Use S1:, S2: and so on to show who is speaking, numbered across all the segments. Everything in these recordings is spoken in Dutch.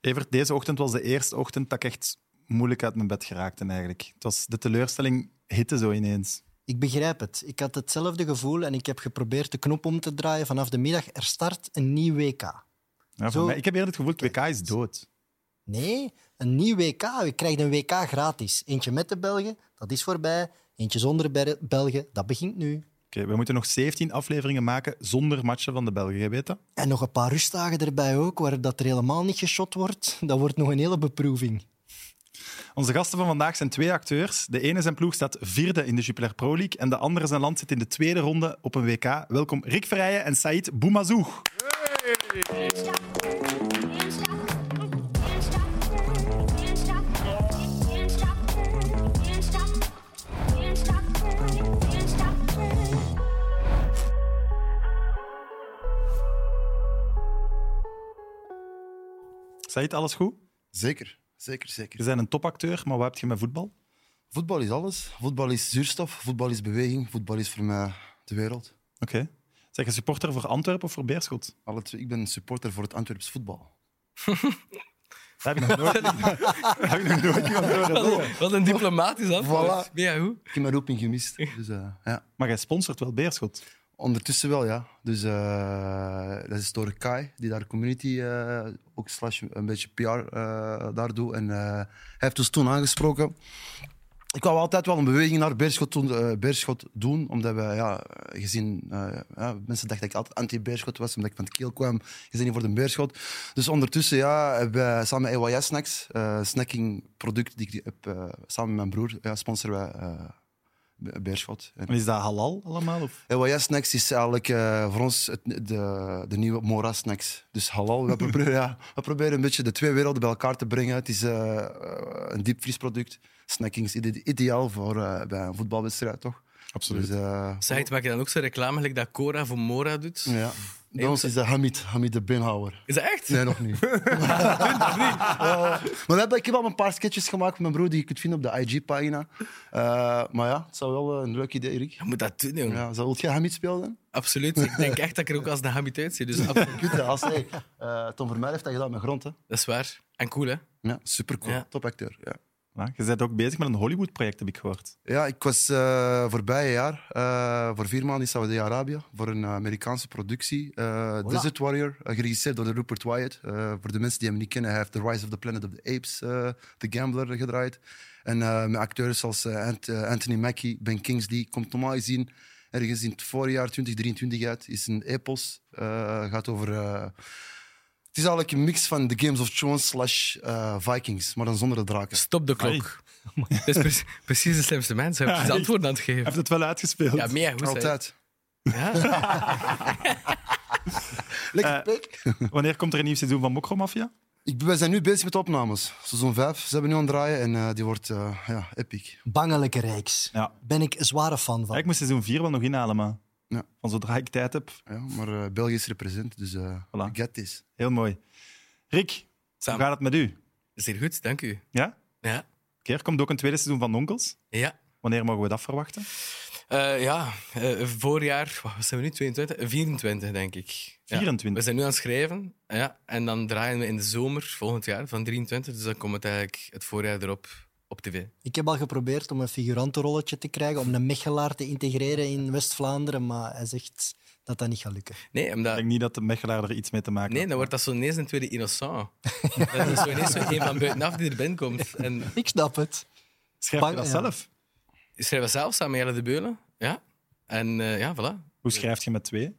S1: Evert, deze ochtend was de eerste ochtend dat ik echt moeilijk uit mijn bed geraakte eigenlijk. Het was de teleurstelling hitte zo ineens.
S2: Ik begrijp het. Ik had hetzelfde gevoel en ik heb geprobeerd de knop om te draaien vanaf de middag. Er start een nieuw WK.
S1: Ja, voor
S2: Zo-
S1: mij, ik heb eerder het gevoel, het WK is dood.
S2: Nee, een nieuw WK. Je krijgt een WK gratis. Eentje met de Belgen, dat is voorbij. Eentje zonder Ber- Belgen, dat begint nu.
S1: Oké, we moeten nog 17 afleveringen maken zonder matchen van de Belgen, jij weet dat?
S2: En nog een paar rustdagen erbij ook, waar dat er helemaal niet geshot wordt. Dat wordt nog een hele beproeving.
S1: Onze gasten van vandaag zijn twee acteurs. De ene zijn ploeg staat vierde in de Jupiler Pro League en de andere zijn land zit in de tweede ronde op een WK. Welkom Rick Verrijen en Said Boumazoug. Said, alles goed?
S3: Zeker, zeker, zeker.
S1: Je bent een topacteur, maar wat heb je met voetbal?
S3: Voetbal is alles. Voetbal is zuurstof, voetbal is beweging, voetbal is voor mij de wereld.
S1: Oké. Zeg je supporter voor Antwerpen of voor Beerschot?
S3: Alle twee, ik ben supporter voor het Antwerps voetbal.
S1: Dat heb ik nog nooit, dat heb ik nog nooit iemand horen
S4: Wat
S1: zeggen.
S4: een, wat een diplomatisch antwoord.
S3: Voilà.
S4: Ben jij goed?
S3: Ik heb mijn roeping gemist. Dus, eh, ja.
S1: Maar jij sponsort wel Beerschot.
S3: Ondertussen wel, ja. Dus eh, dat is door Kai, die daar community eh, ook slash een beetje PR eh, daar doet. En eh, hij heeft ons toen aangesproken. Ik wou altijd wel een beweging naar Beerschot, doen- eh, Beerschot doen, omdat we, ja, gezien, eh, ja, mensen dachten dat ik altijd anti-Beerschot was, omdat ik van het keel kwam, gezien niet voor de Beerschot. Dus ondertussen, ja, hebben wij samen met EYS Snacks, eh snacking product die ik heb, eh, samen met mijn broer, ja, sponsoren wij eh, Be- Beerschot. En-
S1: En is dat halal allemaal? Of?
S3: ja, wat ja, snacks is eigenlijk eh, voor ons het- de, de nieuwe Mora snacks. Dus halal, we proberen, ja, we proberen een beetje de twee werelden bij elkaar te brengen. Het is eh, eh, een diepvriesproduct. Snacking is ide- ideaal voor eh, bij een voetbalwedstrijd, toch? Dus, eh,
S4: Zeg, maak je dan ook zo reclame gelijk dat Cora voor Mora doet?
S3: ja. Bij ons is dat Hamid, Hamid de Benhouwer.
S4: Is dat echt?
S3: Nee, nog niet. Eh, maar we hebben, ik heb al een paar sketches gemaakt met mijn broer die je kunt vinden op de IG-pagina. maar ja, het zou wel eh, een leuk idee, Rick.
S4: Je moet dat doen, jongen.
S3: Ja, zou wil jij Hamid spelen? dan?
S4: Absoluut. Ik denk echt dat ik er ook als de habit uitzie. Dus absoluut.
S3: Goed, hè, als, hey, eh, Tom Vermeij heeft dat gedaan met grond, hè?
S4: dat is waar. En cool, hè?
S3: Ja, supercool.
S4: Ja.
S3: Topacteur. Ja.
S1: Ja, je bent ook bezig met een Hollywood-project, heb ik gehoord.
S3: ja, ik was eh voorbije jaar eh, voor vier maanden in Saudi-Arabië voor een Amerikaanse productie. eh, Desert Warrior, eh, geregisseerd door de Rupert Wyatt. Eh, voor de mensen die hem niet kennen, hij heeft The Rise of the Planet of the Apes, eh, The Gambler, gedraaid. En eh, met acteurs als eh, Ant- eh, Anthony Mackie, Ben Kingsley, komt normaal gezien ergens in het voorjaar 2023 uit. Is een epos, eh, gaat over... eh, het is eigenlijk een mix van The Games of Thrones slash eh, Vikings, maar dan zonder de draken.
S4: Stop de klok. Dat is precies, precies de slimste mens. Hij heeft
S1: Ja,
S4: het antwoord aan het
S1: Je
S4: geven.
S1: hebt het wel uitgespeeld.
S4: Ja, meer goed. hè.
S3: Altijd.
S4: Ja?
S3: Lekker
S1: Eh,
S3: pik.
S1: Wanneer komt er een nieuw seizoen van Mokromafia?
S3: Ik, wij zijn nu bezig met de opnames. Seizoen 5, ze hebben nu aan het draaien en eh, die wordt eh, ja, epic.
S2: Bangelijke Rijks.
S1: Ja.
S2: Ben ik een zware fan
S1: Ja,
S2: van.
S1: ik moet seizoen 4 wel nog inhalen, maar
S3: Ja.
S1: van zodra ik tijd heb,
S3: Ja, maar eh, België is represent, dus eh
S1: Voilà.
S3: get this.
S1: heel mooi. Rick,
S4: Sam,
S1: hoe gaat het met u?
S4: zeer goed, dank u.
S1: Ja?
S4: Ja.
S1: Keer komt ook een tweede seizoen van Onkels.
S4: Ja.
S1: Wanneer mogen we dat verwachten?
S4: Eh, ja, eh, voorjaar, wat zijn we nu? 22? 24, denk ik. Ja.
S1: 24.
S4: We zijn nu aan het schrijven. Ja. En dan draaien we in de zomer volgend jaar van 23. Dus dan komt het eigenlijk het voorjaar erop op tv.
S2: Ik heb al geprobeerd om een figurantenrolletje te krijgen, om een mechelaar te integreren in West-Vlaanderen, maar hij zegt dat dat niet gaat lukken.
S4: Nee,
S1: Ik
S4: omdat,
S1: denk niet dat de Mechelaar er iets mee te maken
S4: nee dan wordt dat zo ineens een tweede innocent. dat is zo ineens zo een van buitenaf die er binnenkomt. En
S2: Ik snap het.
S1: Schrijf je
S2: Bang-
S1: dat
S2: ja.
S1: zelf?
S4: ik schrijf dat zelf samen met Jelle de Beulen. Ja. En eh, ja, voilà.
S1: Hoe schrijf je met twee?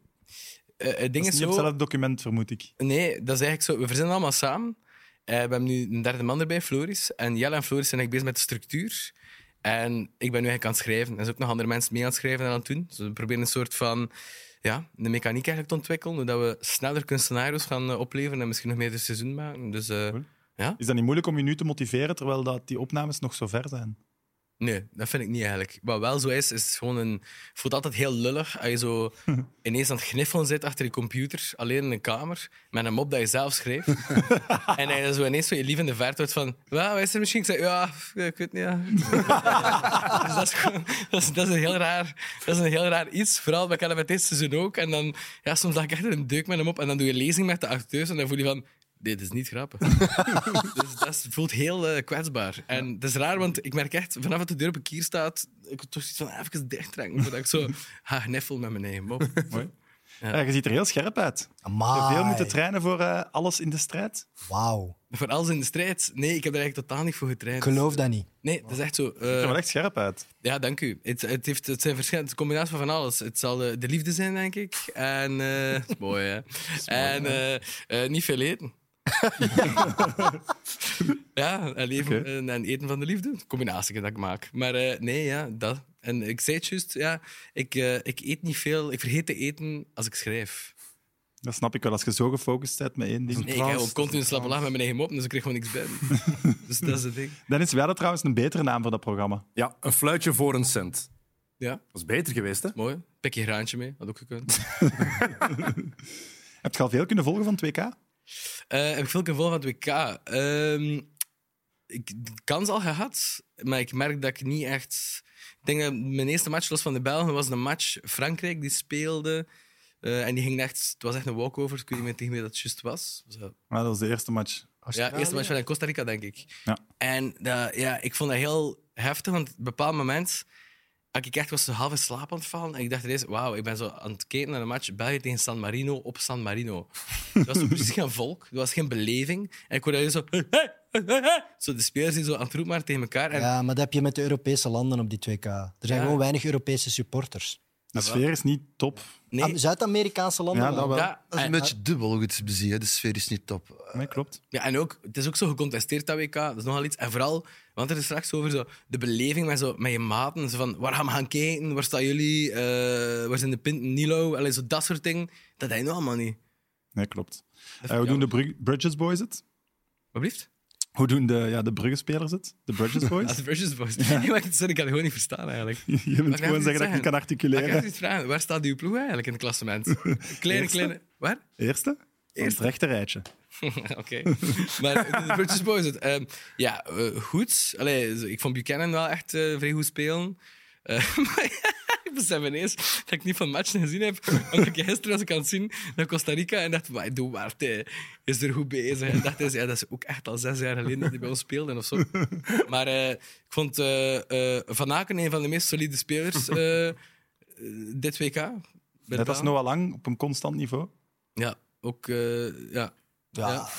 S1: Dat
S4: Eh, het ding
S1: is
S4: is
S1: niet op
S4: zo...
S1: hetzelfde document, vermoed ik.
S4: Nee, dat is eigenlijk zo. We verzinnen allemaal samen. Eh, we hebben nu een derde man erbij, Floris. En Jelle en Floris zijn eigenlijk bezig met de structuur. En ik ben nu eigenlijk aan het schrijven. Er zijn ook nog andere mensen mee aan het schrijven en aan het doen. Dus we proberen een soort van ja, de mechaniek eigenlijk te ontwikkelen. Zodat we sneller kunnen scenario's gaan eh, opleveren en misschien nog meer dit seizoen maken. Dus eh,
S1: Cool. Is dat niet moeilijk om je nu te motiveren, terwijl dat die opnames nog zo ver zijn?
S4: nee, dat vind ik niet eigenlijk. Wat wel zo is, is gewoon een. Het voelt altijd heel lullig als je zo ineens aan het gniffelen zit achter je computer, alleen in een kamer, met een mop dat je zelf schreef. en hij is zo ineens zo je lief in de verte wordt van... Wauw, is er misschien? Ik zeg, ja, ik weet niet. Ja. dus dat is, gewoon- dat, is, dat, is een heel raar, dat is een heel raar iets. Vooral, we kennen met dit seizoen ook. En dan, ja, soms lag ik echt in een deuk met hem op. En dan doe je lezing met de acteurs en dan voel je van... dit is niet grappig. dus dat is- voelt heel eh, kwetsbaar. En het is raar, want ik merk echt, vanaf dat de deur op een kier staat, ik heb toch iets van ah, even dicht trekken, voordat ik zo ga gniffel met mijn eigen mop.
S1: Mooi. Ja, Eh, je ziet er heel scherp uit. Je hebt
S2: Amai.
S1: veel moeten trainen voor eh, alles in de strijd.
S2: Wauw.
S4: Voor alles in de strijd? Nee, ik heb er eigenlijk totaal niet voor
S2: Ik
S4: getraind.
S2: geloof dat niet.
S4: Nee, dat is echt zo. eh,
S1: Je ziet er wel echt scherp uit.
S4: ja, dank u. Het, het, heeft, het zijn verschillende combinaties van alles. Het zal eh, de, de liefde zijn, denk ik. En eh, dat is mooi, hè? en eh, eh, niet veel eten. ja, en, leven, eh,
S1: Oké.
S4: en- en eten van de liefde. Combinatie dat ik maak. Maar eh, nee, ja, dat. En ik zei het juist, ja, ik, eh, ik eet niet veel. Ik vergeet te eten als ik schrijf.
S1: Dat snap ik wel, als je zo gefocust bent met één ding.
S4: Nee, ik heb ook continu slappe lach met mijn eigen mop, dus ik kreeg gewoon niks bij. dus dat is het ding.
S1: Dennis, wij hadden trouwens een betere naam voor dat programma.
S5: Ja, een fluitje voor een cent.
S4: Ja.
S5: Dat is beter geweest, hè?
S4: Mooi. Pik je graantje mee, had ook gekund.
S1: Heb je al veel kunnen volgen van 2K?
S4: Eh, heb ik veel kunnen volgen van het WK? Ehm, ik de kans al gehad, maar ik merk dat ik niet echt... Ik denk dat mijn eerste match, los van de Belgen, was een match Frankrijk die speelde. eh, en die ging echt... Het was echt een walkover, ik weet niet meer tegen wie dat juist was. Was dat-
S1: Maar dat was de eerste match.
S4: Ja, eerste match van Costa Rica, denk ik.
S1: Ja.
S4: En dat, ja, ik vond dat heel heftig, want op een bepaald moment... had Ik echt was zo half in slaap aan het vallen. En ik dacht ineens, wauw, ik ben zo aan het kijken naar een match België tegen San Marino op San Marino. Er was zo precies geen volk, er was geen beleving. En ik hoorde alleen zo... Zo de spelers die zo aan het roepen waren tegen elkaar. En
S2: Ja, maar dat heb je met de Europese landen op die 2K. Er zijn
S4: Ja.
S2: gewoon weinig Europese supporters.
S1: De sfeer is niet top.
S4: nee,
S2: Ah, Zuid-Amerikaanse landen.
S1: Ja,
S2: wel.
S1: dat
S3: Ah,
S1: wel.
S4: ja, eh,
S3: Dat is een
S4: en-
S3: beetje dubbel ook het te bezien, hè. De sfeer is niet top.
S1: Nee, klopt.
S4: Ja, en ook, het is ook zo gecontesteerd, dat WK. Dat is nogal iets. En vooral, want er is straks over zo, de beleving met, zo, met je maten. Zo van, waar gaan we gaan kijken? Waar staan jullie? Eh, waar zijn de pinten? Nilo? Allee, zo dat soort dingen. Dat heb je nou allemaal niet.
S1: Nee, klopt. Eh,
S4: ik
S1: hoe doen de
S4: jammer.
S1: Bru- Bridges Boys het?
S4: Wat blieft?
S1: Hoe doen de, ja, de Bruggenspelers het? De Bridges
S4: Als
S1: Boys?
S4: de Virgins Boys. Nee, maar ik, sorry, ik kan het gewoon niet verstaan, eigenlijk. Maar
S1: Je
S4: ik
S1: moet
S4: ga
S1: gewoon zeggen
S4: even
S1: dat je niet
S4: iets
S1: kan
S4: Maar Ik ga
S1: articuleren.
S4: even iets vragen. Waar staat uw ploeg eigenlijk in het klassement? Een Kleine,
S1: Eerste?
S4: kleine... Waar?
S1: Eerste? Eerst het rechte rijtje.
S4: Oké. Maar de British Boys, het, ehm, ja, eh, goed. Allee, ik vond Buchanan wel echt eh, vrij goed spelen. Eh, maar ja, ik besef ineens dat ik niet van matchen gezien heb. Want ik gisteren was ik aan het zien naar Costa Rica en dacht, "Wai, Duarte is er goed bezig. En dacht eens, ja, dat is ook echt al zes jaar geleden dat hij bij ons speelde of zo. Maar eh, ik vond eh, eh, Van Aken een van de meest solide spelers eh, eh, dit WK. Bij de
S1: Dat is
S4: Belgen.
S1: Noah Lang op een constant niveau.
S4: Ja, ook... eh, ja.
S2: Ja.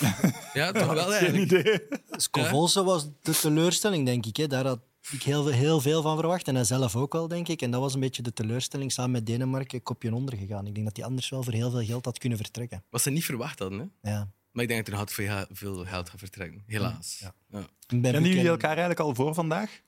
S4: ja, toch wel eigenlijk.
S1: Geen idee.
S2: Scovolse was de teleurstelling, denk ik. Hè. Daar had ik heel, veel- heel veel van verwacht. En hij zelf ook wel, denk ik. En dat was een beetje de teleurstelling. Samen met Denemarken kopje onder gegaan. Ik denk dat hij anders wel voor heel veel geld had kunnen vertrekken.
S4: Wat ze niet verwacht hadden, hè?
S2: Ja.
S4: Maar ik denk dat er had veel, veel geld gaat vertrekken. Helaas. Ja. Ja.
S2: Ik ben
S1: Kennen jullie
S2: bekend-
S1: elkaar eigenlijk al voor vandaag?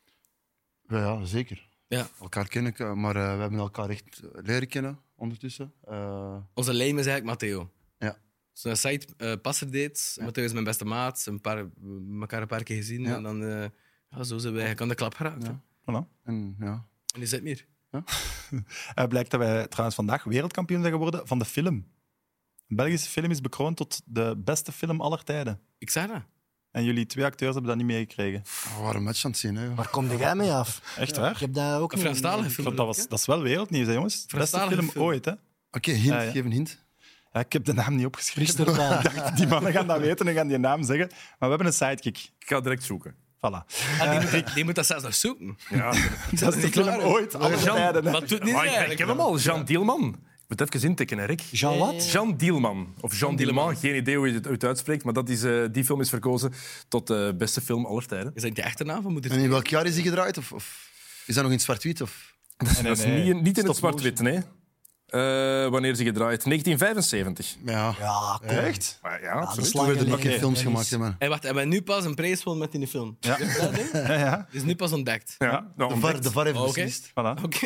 S3: Ja, ja, zeker.
S4: Ja.
S3: Elkaar kennen, ik, eh, maar eh, we hebben elkaar echt eh, leren kennen ondertussen. Eh,
S4: Onze lijm is eigenlijk Matteo.
S3: Ja.
S4: Zo'n site eh passer deed. Matteo is mijn beste maat. Een paar, we elkaar een paar keer gezien.
S3: Ja.
S4: En dan, eh, ja, zo zijn wij aan de klap geraakt. hè.
S3: Ja.
S1: Voilà.
S3: en ja,
S4: En nu zit meer.
S1: Eh, blijkt dat wij trouwens vandaag wereldkampioen zijn geworden van de film. Een Belgische film is bekroond tot de beste film aller tijden.
S4: Ik zei dat.
S1: En jullie twee acteurs hebben dat niet meegekregen.
S3: we waren een match aan het zien. Hè, joh.
S2: Waar kom jij mee af?
S1: Echt
S2: Ik
S1: waar?
S2: heb dat ook
S4: Een
S2: niet-
S4: Franstalige
S1: Ik
S4: film.
S1: vond dat, was, dat is wel wereldnieuws, hè, jongens. Beste
S4: Franstalige
S1: film,
S4: film.
S1: ooit, hè?
S3: Oké, hint,
S1: Ja, ja.
S3: geef een hint.
S1: Ja, ik heb de naam niet opgeschreven.
S2: Christophe.
S1: Die mannen gaan dat weten en gaan die naam zeggen. Maar we hebben een sidekick.
S5: Ik ga direct zoeken.
S1: Voilà.
S4: Ah, die, moet dat, die moet dat zelfs nog zoeken.
S5: Ja,
S1: Dat is de
S4: niet
S1: film
S4: waar, hè?
S1: ooit, aller
S5: Jean,
S1: tijden. hè.
S4: Wat doet niet
S5: Maar ik-
S4: eigenlijk?
S5: Ah, ik heb hem al. Jean Dielman. Ik moet even intikken, hè, Rick.
S2: Jean
S4: Eh,
S2: wat?
S5: Jean Dielman. Of Jean Dielman. Geen idee hoe je het uit- uitspreekt, maar dat is, eh, die film is verkozen tot de beste film aller tijden.
S4: Is dat niet de echte naam van moeder?
S3: En in welk jaar is die gedraaid? Of, of is dat nog in zwart-wit? Of...
S5: dat is
S1: nee.
S5: niet, in- niet in
S1: Stop
S5: het zwart-wit, nee. Eh, wanneer ze gedraaid? 1975.
S3: Ja,
S2: Ja, kom.
S1: Echt?
S5: Maar ja,
S2: Ja, dat is
S5: absoluut.
S2: lang
S3: we hebben
S2: geleden.
S3: ook geen films gemaakt. Hè, man.
S4: Hey, wacht, hebben we nu pas een prijs gewonnen met die film?
S1: Ja. Ja, ja.
S4: Het is nu pas ontdekt.
S5: Ja, nou,
S3: De
S5: ontdekt.
S3: VAR, de VAR heeft
S4: Oh, Oké.
S3: beslist.
S1: Voilà.
S4: Oké.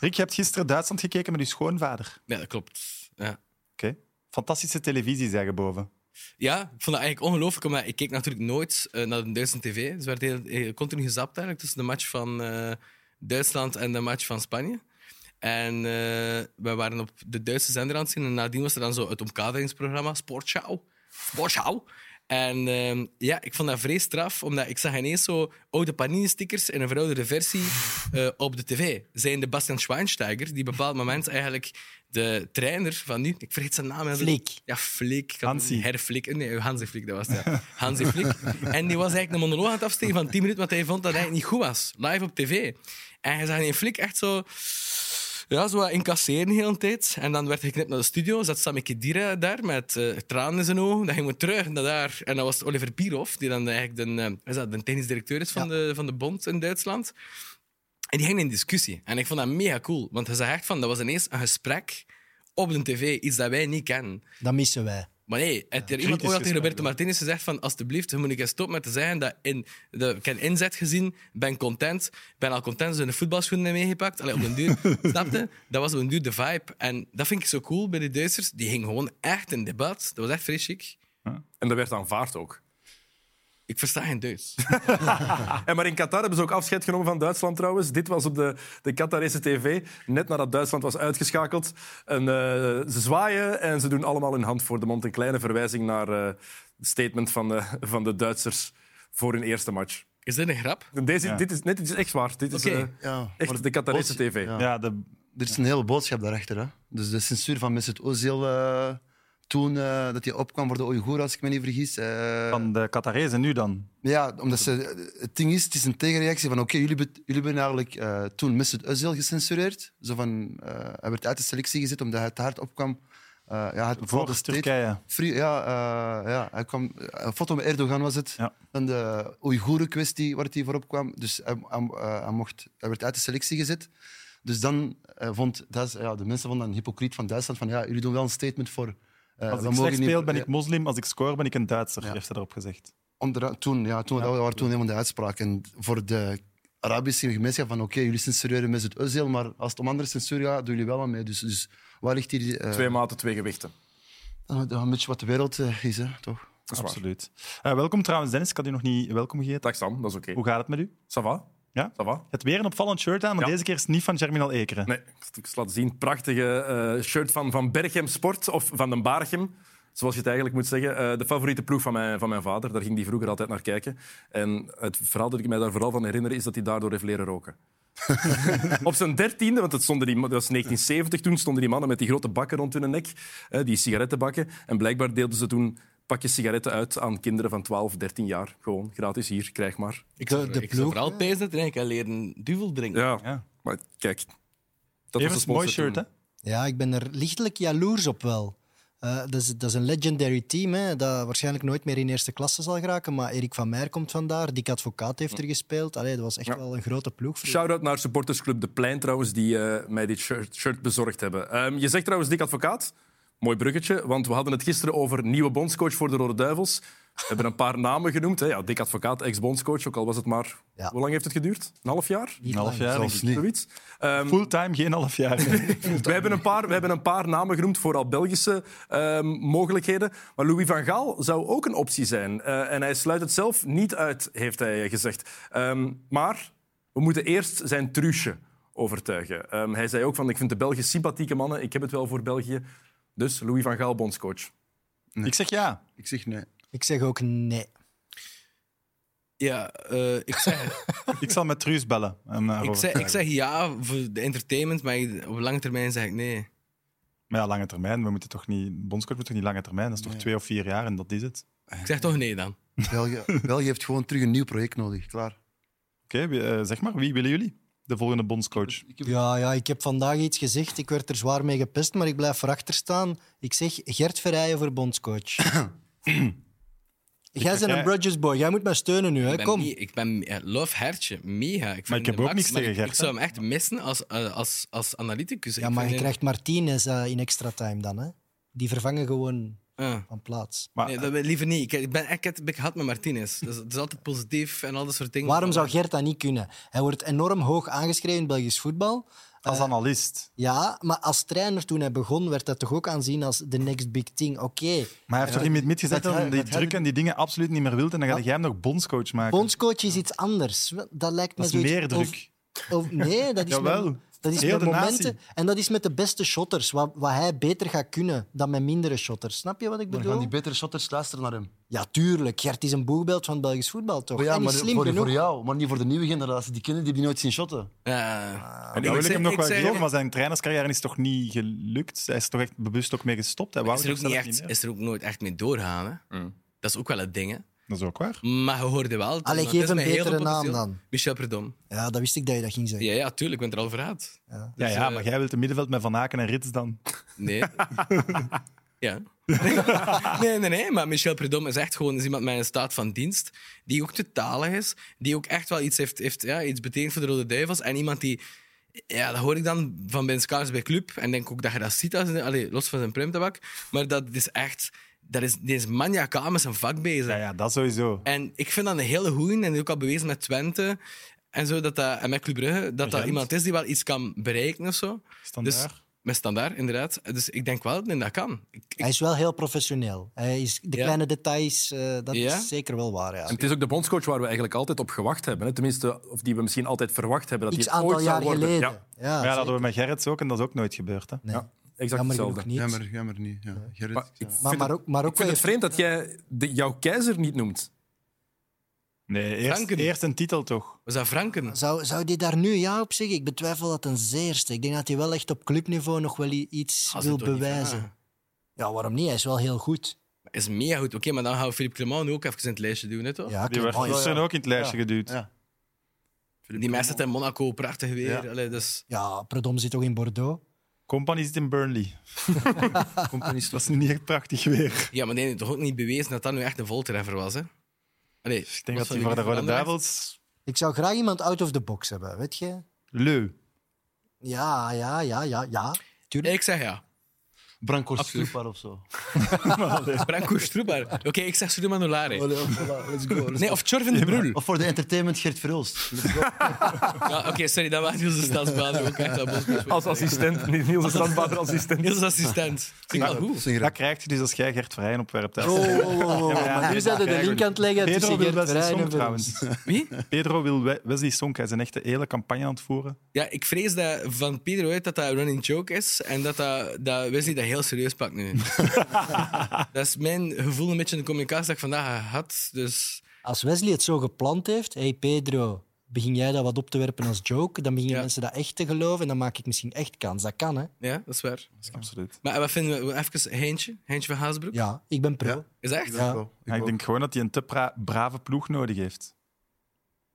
S1: Rick, je hebt gisteren Duitsland gekeken met uw schoonvader.
S4: Ja, dat klopt. Ja.
S1: Oké. Fantastische televisie, zeggen boven.
S4: Ja, ik vond dat eigenlijk ongelooflijk, omdat ik keek natuurlijk nooit eh, naar de Duitse tv. Dus werd heel, heel continu gezapt eigenlijk tussen de match van eh, Duitsland en de match van Spanje. En eh, we waren op de Duitse zender aan het zien en nadien was er dan zo het omkaderingsprogramma Sportschau. Sportschau. En ehm, ja, ik vond dat vrees straf, omdat ik zag ineens zo oude Panini-stickers in een verouderde versie eh, op de tv. Zijn de Bastian Schweinsteiger, die op een bepaald moment eigenlijk de trainer van nu... Ik vergeet zijn naam. eigenlijk.
S2: Flick.
S4: Ja, Flick. Ik had
S1: Hansi.
S4: Herr Flick. Nee, Hansi Flick, dat was het. Ja. Hansi Flick. En die was eigenlijk een monoloog aan het afsteken van 10 minuten, want hij vond dat hij niet goed was. Live op tv. En hij zag in Flick echt zo... Ja, zo wat incasseren de hele tijd. En dan werd geknipt naar de studio. Zat Sami Khedira daar met eh, tranen in zijn ogen. Dan gingen we terug naar daar. En dat was Oliver Bierhoff, die dan eigenlijk de, eh, wat is dat, de technisch directeur is van, de, van de bond in Duitsland. En die gingen in discussie. En ik vond dat mega cool. Want hij zag echt van, dat was ineens een gesprek op de tv. Iets dat wij niet kennen.
S2: Dat missen wij.
S4: Maar nee, het er iemand
S1: kritisch
S4: ooit al tegen
S1: gesprek
S4: Roberto
S1: dan.
S4: Martinez gezegd van alsjeblieft, je moet ik eens stoppen met te zeggen dat in, dat ik heb inzet gezien, ben content, ben al content, ze hebben de voetbalschoenen hebben meegepakt. Allee, op den duur, snapte? Dat was op den duur de vibe. En dat vind ik zo cool bij de Duitsers. Die gingen gewoon echt in debat. Dat was echt fris chic.
S5: En dat werd aanvaard ook.
S4: Ik versta geen Duits.
S5: En maar in Qatar hebben ze ook afscheid genomen van Duitsland trouwens. Dit was op de, de Qatarese tv, net nadat Duitsland was uitgeschakeld. En, eh, ze zwaaien en ze doen allemaal hun hand voor de mond. Een kleine verwijzing naar eh, het statement van de, van de Duitsers voor hun eerste match.
S4: Is dit een grap?
S5: En Deze,
S1: Ja.
S5: dit, is, nee, dit is echt waar. Dit is
S4: Oké.
S5: eh,
S3: Ja, maar
S5: echt de
S3: bots-
S5: Qatarese tv.
S3: ja.
S1: Ja, de,
S3: Er is een hele boodschap daarachter. Hè? Dus de censuur van Mesut Ozil eh, toen eh, dat hij opkwam voor de Oeigoeren, als ik me niet vergis. eh,
S1: van de Qatarese nu dan.
S3: Ja, omdat ze, het ding is, het is een tegenreactie van oké, jullie, bet- jullie hebben eigenlijk eh, toen Mesut Özil gecensureerd. Zo van, eh, hij werd uit de selectie gezet omdat hij te hard opkwam. Eh, ja, het
S1: Voor
S3: bepaalde state-
S1: Turkije.
S3: Free- ja, eh, ja, hij kwam, een foto met Erdogan was het.
S1: Ja.
S3: Dan de Oeigoeren-kwestie waar hij voor opkwam. Dus hij, hij, eh, hij mocht, hij werd uit de selectie gezet. Dus dan eh, vond Duits- ja, de mensen vonden dat een hypocriet van Duitsland van ja, jullie doen wel een statement voor... eh,
S1: Als
S3: we
S1: ik
S3: mogen
S1: slecht
S3: niet-
S1: speel, ben
S3: ja.
S1: ik moslim. Als ik score, ben ik een Duitser,
S3: Ja.
S1: heeft hij erop gezegd.
S3: Onder, toen, ja, toen, dat waren toen helemaal de uitspraak. En voor de Arabische gemeenschap van oké, jullie censureren met het Özil, maar als het om andere censuur gaat, doen jullie wel aan mee. Dus, dus waar ligt hier... eh,
S5: Twee maten, twee gewichten.
S3: eh, een beetje wat de wereld eh, is, hè, toch?
S5: Dat is waar.
S1: Absoluut. Eh, welkom trouwens, Dennis. Ik had u nog niet welkom gegeten.
S5: Dag Sam, dat is oké.
S1: Hoe gaat het met u?
S5: Ça va?
S1: Ja?
S5: Ça va?
S1: Het weer een opvallend shirt aan, maar
S5: Ja.
S1: deze keer is het niet van Germinal Ekeren.
S5: Nee, ik zal het laten zien. Prachtige eh, shirt van, van Berchem Sport of van den Barchem. Zoals je het eigenlijk moet zeggen. Eh, de favoriete ploeg van mijn, van mijn vader. Daar ging hij vroeger altijd naar kijken. En het verhaal dat ik mij daar vooral van herinner is dat hij daardoor heeft leren roken. Op zijn dertiende, want dat, stonden die, dat was 1970 toen, stonden die mannen met die grote bakken rond hun nek. eh, die sigarettenbakken. En blijkbaar deelden ze toen pakjes sigaretten uit aan kinderen van 12, 13 jaar. Gewoon gratis, hier, krijg maar.
S4: Ik
S2: De-
S4: zou,
S2: de
S4: ik zou
S2: ploeg,
S4: vooral
S2: hè?
S4: pezen dat ik kan leren duvel drinken.
S5: Ja,
S1: Ja.
S5: maar kijk. Dat
S1: Even
S5: was
S1: een mooi shirt, hè?
S2: Ja, ik ben er lichtelijk jaloers op wel. Eh, dat, is, dat is een legendary team, hè, dat waarschijnlijk nooit meer in eerste klasse zal geraken. Maar Erik van Meijer komt vandaar, Dick Advocaat heeft er gespeeld. Allee, dat was echt wel een grote ploeg. voor-
S5: Shout-out naar supportersclub De Plein trouwens, die eh, mij dit shirt, shirt bezorgd hebben. Ehm, je zegt trouwens, Dick Advocaat, mooi bruggetje, want we hadden het gisteren over nieuwe bondscoach voor de Rode Duivels. We hebben een paar namen genoemd. Hè. Ja, Dick Advocaat, ex-bondscoach, ook al was het maar...
S2: Ja.
S5: Hoe lang heeft het geduurd? Een half jaar?
S1: Een half jaar. denk ik.
S3: Zelfs niet.
S5: Zoiets. Ehm,
S1: Fulltime, geen half jaar.
S5: we, hebben een paar, we hebben een paar namen genoemd, vooral Belgische ehm, mogelijkheden. Maar Louis van Gaal zou ook een optie zijn. Eh, en hij sluit het zelf niet uit, heeft hij eh, gezegd. Ehm, maar we moeten eerst zijn truusje overtuigen. Ehm, hij zei ook van, ik vind de Belgen sympathieke mannen. Ik heb het wel voor België. Dus Louis van Gaal, bondscoach.
S1: Ik zeg ja.
S3: Ik zeg nee.
S2: Ik zeg ook nee.
S4: Ja, eh, ik zeg
S1: Ik zal met Truus bellen. eh, en daarover
S4: Ik zeg, ik
S1: praten.
S4: zeg ja voor de entertainment, maar ik- op lange termijn zeg ik nee.
S1: Maar ja, lange termijn. We moeten toch niet... Bondscoach moet toch niet lange termijn? Dat is toch twee of vier jaar en dat is het.
S4: Ik zeg toch nee dan.
S3: België, België heeft gewoon terug een nieuw project nodig, klaar.
S1: Oké, wie- eh, zeg maar. Wie willen jullie? De volgende bondscoach.
S2: Ja, ja, ik heb vandaag iets gezegd. Ik werd er zwaar mee gepest, maar ik blijf erachter staan. Ik zeg Gert Verrijen voor bondscoach. Jij bent
S1: jij-
S2: een Bridges boy. Jij moet mij steunen nu. Hè.
S4: Ik ben,
S2: Kom.
S4: mee- ik ben eh, love hertje, mega. Ik vind
S1: Maar ik heb
S4: de
S1: ook
S4: max,
S1: niks
S4: maar
S1: tegen
S4: ik-
S1: Gert,
S4: Ik zou hem echt missen als, eh, als, als analyticus.
S2: Ja,
S4: Ik
S2: maar
S4: vind
S2: je
S4: hem-
S2: krijgt Martinez eh, in extra time dan. Hè. Die vervangen gewoon
S4: Ah.
S2: van plaats.
S1: Maar
S4: Nee, dat wil ik liever niet. Ik, ik ben echt ik had met Martinez. Dus het is altijd positief en al dat soort dingen.
S2: Waarom zou Gert dat niet kunnen? Hij wordt enorm hoog aangeschreven in Belgisch voetbal.
S1: als analist...
S2: Ja, maar als trainer toen hij begon, werd dat toch ook aanzien als the next big thing. Oké,
S1: Maar hij heeft toch in het mid gezet dat
S3: dat
S1: hij
S3: hij-
S1: die
S3: dat hij-
S1: druk en die dingen absoluut niet meer wilt en dan ga jij hem nog bondscoach maken.
S2: bondscoach is iets anders. Dat lijkt me
S1: dat is
S2: zoiets
S1: meer
S2: of-
S1: druk.
S2: Of, nee, dat is
S1: Jawel.
S2: mijn- Dat is
S1: Heel
S2: met
S1: de natie.
S2: momenten, en dat is met de beste shotters, wat, wat hij beter gaat kunnen dan met mindere shotters. Snap je wat ik
S3: Maar gaan
S2: bedoel?
S3: die betere shotters luisteren naar hem?
S2: Ja, tuurlijk. Gert is een boegbeeld van Belgisch voetbal, toch?
S3: Maar ja,
S2: en
S3: maar
S2: is slim
S3: voor,
S2: genoeg.
S3: voor jou, maar niet voor de nieuwe generatie. Die kinderen die hebben die nooit zien shotten.
S1: Ah,
S4: Ja.
S1: En
S4: ik
S1: wil ik
S4: zeg-
S1: hem nog
S4: ik
S1: wel
S4: zeg-
S1: geloven, maar zijn trainerscarrière is toch niet gelukt? Hij is toch echt bewust ook mee gestopt? Hij wou
S4: Is er,
S1: het
S4: ook niet
S1: zelf
S4: echt,
S1: meer. Mm.
S4: is er ook nooit echt mee doorgaan. Hè? Dat is ook wel het ding. Hè?
S1: Dat is ook waar.
S4: Maar je hoorde wel. het-
S2: Allee,
S4: want
S2: geef
S4: het is
S2: een
S4: met heel veel
S2: betere naam
S4: potentieel.
S2: dan.
S4: Michel Predom.
S2: Ja, dat wist ik dat je dat ging zeggen.
S4: Ja, ja, tuurlijk, ik ben er al verraad.
S1: Ja,
S4: dus,
S1: ja,
S4: eh,
S1: maar jij wilt een middenveld met Van Aken en Rits dan.
S4: Nee. ja. nee, nee, nee, maar Michel Predom is echt gewoon is iemand met een staat van dienst. Die ook te talig is. Die ook echt wel iets heeft, heeft ja, iets betekend voor de Rode Duivels. En iemand die. Ja, dat hoor ik dan van Ben Skaars bij Club. En denk ook dat je dat ziet, als, allee, los van zijn primtabak. Maar dat is echt. Dat is, die is maniacaal met zijn vak bezig.
S1: Ja, ja, dat sowieso.
S4: En ik vind dat een hele goeie. En ook al bewezen met Twente en, zo, dat dat, en met Club Brugge. Dat dat
S1: Gent.
S4: iemand is die wel iets kan bereiken of zo.
S1: Standaard.
S4: Dus, met standaard, inderdaad. Dus ik denk wel dat dat kan. Ik, ik-
S2: Hij is wel heel professioneel. Hij is, de
S4: Ja.
S2: kleine details, eh, dat
S4: Ja?
S2: is zeker wel waar. Ja.
S5: En het is ook de bondscoach waar we eigenlijk altijd op gewacht hebben. Hè? Tenminste, of die we misschien altijd verwacht hebben. Dat
S2: X
S5: die het ooit
S2: aantal
S5: zou
S2: jaar
S5: worden.
S2: geleden.
S5: Ja,
S2: Ja,
S1: Ja, dat
S2: zeker.
S1: hadden we met Gerrits ook en dat is ook nooit gebeurd. Hè?
S2: Nee,
S1: Ja.
S5: exact
S2: Jammer
S5: hetzelfde.
S2: genoeg niet.
S3: Jammer, jammer niet. Ja. Gerrit,
S5: Maar ik
S3: ja.
S2: Maar,
S5: vind
S2: maar
S5: het-
S2: ook, maar ook
S5: Ik vind
S2: wel
S5: het vreemd dat jij de, jouw keizer niet noemt.
S1: Nee, eerst,
S4: Franken.
S1: eerst een titel toch?
S4: was dat Franken?
S2: Zou, zou die daar nu ja op zeggen? Ik betwijfel dat een zeerste. Ik denk dat hij wel echt op clubniveau nog wel i- iets
S4: Als
S2: wil
S4: het toch niet Ah.
S2: bewijzen.
S4: vragen.
S2: Ja, waarom niet? Hij is wel heel goed.
S4: Is mega goed. Oké, maar dan gaan we Philippe Clement nu ook even in het lijstje doen, hè, toch?
S2: Ja,
S1: Die
S2: Clement
S1: werd
S2: is-
S1: gisteren ook in het lijstje
S3: Ja.
S1: geduwd.
S3: Ja.
S4: Die meisje staat in Monaco, prachtig weer.
S3: Ja.
S4: Allee, dus...
S2: ja, Predom zit toch in Bordeaux?
S1: Company zit in Burnley.
S3: Company is
S1: Dat is nu niet echt prachtig weer.
S4: Ja, maar die heeft toch ook niet bewezen dat dat nu echt een voltreffer was, hè? Allee,
S1: Ik denk
S4: los
S1: dat
S4: van
S1: hij voor de Rode
S4: andere-
S1: Duivels...
S2: Ik zou graag iemand out of the box hebben, weet je?
S1: Leu.
S2: Ja, ja, ja, ja, ja. Tuurlijk.
S4: Ik zeg ja.
S3: Branko
S4: Absoluut.
S3: Stupaar of zo.
S4: Branko Stroepaar. Oké, ik zeg Suleiman Olari.
S3: Allee, voilà, Let's go. let's
S4: Nee,
S3: go.
S4: of Chorven de Brul.
S3: Of voor de entertainment Gert Verhulst. Let's go.
S4: Ja, Oké, sorry, dat was Niels de Stadsbaan ook echt wel bondscoach.
S5: Als assistent, niet Niels de Standbaarder assistent.
S4: Niels als assistent. Vind ik wel goed.
S3: Zing
S1: Dat
S3: graag.
S1: krijg je dus als jij Gert Vrijen opwerpt. hè.
S2: Oh, oh, oh, oh.
S1: Ja, ja,
S2: Maar nu
S1: ja,
S2: zijn we de
S1: ja,
S2: link aan het leggen
S1: Pedro
S2: tussen
S1: wil
S2: Geert
S1: Wesley
S2: Verheyen
S1: Song
S2: en Verhoeven.
S1: trouwens.
S4: Wie?
S1: Pedro wil We- Wesley Song. Hij is een echte hele campagne aan het voeren.
S4: Ja, ik vrees dat van Pedro uit dat dat running joke is en dat, dat, dat Wesley dat heel serieus pakt nu. dat is mijn gevoel een beetje in de communicatie dat ik vandaag had. Dus
S2: Als Wesley het zo gepland heeft, hey Pedro, begin jij dat wat op te werpen als joke, dan beginnen
S4: Ja.
S2: mensen dat echt te geloven en dan maak ik misschien echt kans. Dat kan, hè?
S4: ja, dat is waar.
S1: Absoluut.
S4: Maar wat vinden we? Even Heintje, Heintje van Haasbroek.
S2: Ja, ik ben pro. Ja.
S4: Is dat echt?
S2: Ja.
S3: Go.
S1: Ja, ik denk gewoon dat hij een te bra- brave ploeg nodig heeft.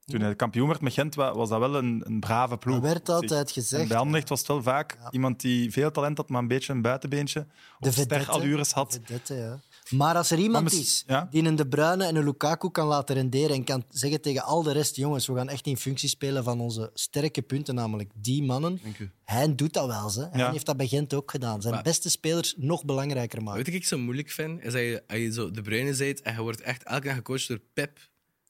S1: Toen hij kampioen werd met Gent wa- was dat wel een, een brave ploeg.
S2: Dat werd
S1: op zich.
S2: altijd
S1: En
S2: gezegd.
S1: bij Anderlecht was het wel vaak iemand die veel talent had, maar een beetje een buitenbeentje.
S2: De
S1: Of
S2: vedette.
S1: sterallures had.
S2: Vedette, ja. Maar als er iemand
S1: Maar mis-
S2: is
S1: ja?
S2: die een De Bruyne en een Lukaku kan laten renderen en kan zeggen tegen al de rest, jongens, we gaan echt in functie spelen van onze sterke punten, namelijk die mannen.
S3: u.
S2: Hij doet dat wel, hè. Hij
S1: Ja.
S2: heeft dat bij Gent ook gedaan. Zijn
S4: Maar-
S2: beste spelers nog belangrijker maken.
S4: Weet je wat ik zo moeilijk vind? Is dat je, als je zo de bruine bent en je wordt echt elke dag gecoacht door Pep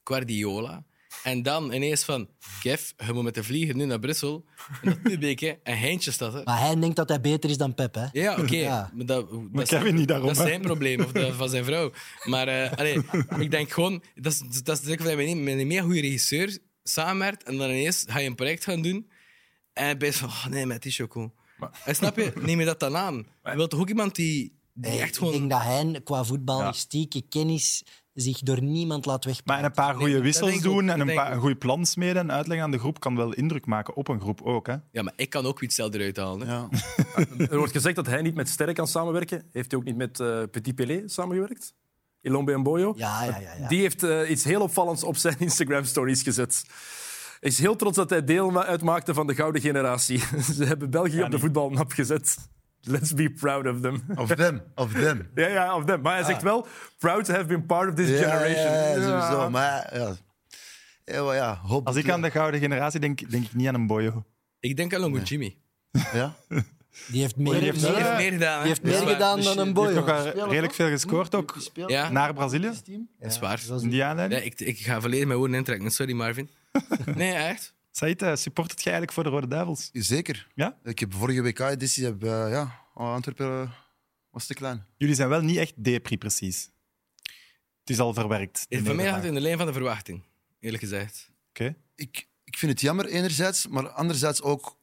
S4: Guardiola. En dan ineens van, Kev, je moet met de vlieger nu naar Brussel, naar Tubeke en Heintje staat er.
S2: Maar hij denkt dat hij beter is dan Pep, hè?
S4: Ja, oké.
S2: Ja.
S4: Maar dat, dat is-
S1: Kevin niet daarom,
S4: Dat is
S1: hè?
S4: zijn probleem, of dat van zijn vrouw. Maar eh, allee, ik denk gewoon... Dat is, dat is het leuke van dat je met een meer goede regisseur samenwerkt en dan ineens ga je een project gaan doen en ben je van, oh nee, maar het is zo cool. En snap je? Neem je dat dan aan? Je wilt toch ook iemand die, die
S2: Nee,
S4: echt gewoon...
S2: Ik denk dat hij qua voetballistieke kennis zich door niemand laat wegpakken.
S1: Maar een paar goede
S4: dat
S1: wissels
S4: denk ik ook,
S1: doen en
S4: dat
S1: een,
S4: denk ik
S1: paar, een
S4: ook.
S1: goed plan smeden en uitleggen aan de groep kan wel indruk maken op een groep ook. Hè?
S4: Ja, maar ik kan ook iets zelf eruit halen. hè.
S3: Ja.
S5: Er wordt gezegd dat hij niet met Sterren kan samenwerken. Heeft hij ook niet met eh, Petit Pelé samengewerkt? Ilombe Mboyo?
S2: Ja, ja, ja. ja.
S5: Die heeft eh, iets heel opvallends op zijn Instagram-stories gezet. Hij is heel trots dat hij deel ma- uitmaakte van de gouden generatie. Ze hebben België op de
S1: die-
S5: voetbalmap gezet. Let's be proud of them.
S3: Of them. Of them.
S5: ja, ja, of them. Maar hij zegt wel, proud to have been part of this
S3: Ja,
S5: generation.
S3: Ja, ja,
S5: Ja.
S3: sowieso. Maar ja. Ja, maar ja, hoop
S1: Als ik aan de gouden generatie denk, denk ik niet aan een boyo.
S4: Ik denk aan Longo Jimmy.
S3: Ja?
S2: Die heeft meer,
S1: die heeft
S4: Die
S2: meer-
S4: heeft
S1: Ja.
S4: meer gedaan. hè.
S2: die heeft
S4: Dat is
S2: meer
S4: waar.
S2: gedaan dan een boy.
S1: Nog
S2: hoor.
S1: wel redelijk veel gescoord ook
S4: Ja,
S1: naar Brazilië.
S4: dat is waar.
S1: In die aanleiding.
S4: Nee, ik, ik ga volledig mijn woorden intrekken. Sorry, Marvin. Nee, echt.
S1: Said, eh, supportert jij eigenlijk voor de Rode Duivels?
S3: Zeker.
S1: Ja?
S3: Ik heb vorige WK-editie, heb, eh, ja, Antwerpen eh, was te klein.
S1: Jullie zijn wel niet echt depri, precies. Het is al verwerkt. de
S4: Voor mij had
S1: nederlaag.
S4: het in de lijn van de verwachting. Eerlijk gezegd.
S1: Oké.
S3: Ik, ik vind het jammer enerzijds, maar anderzijds ook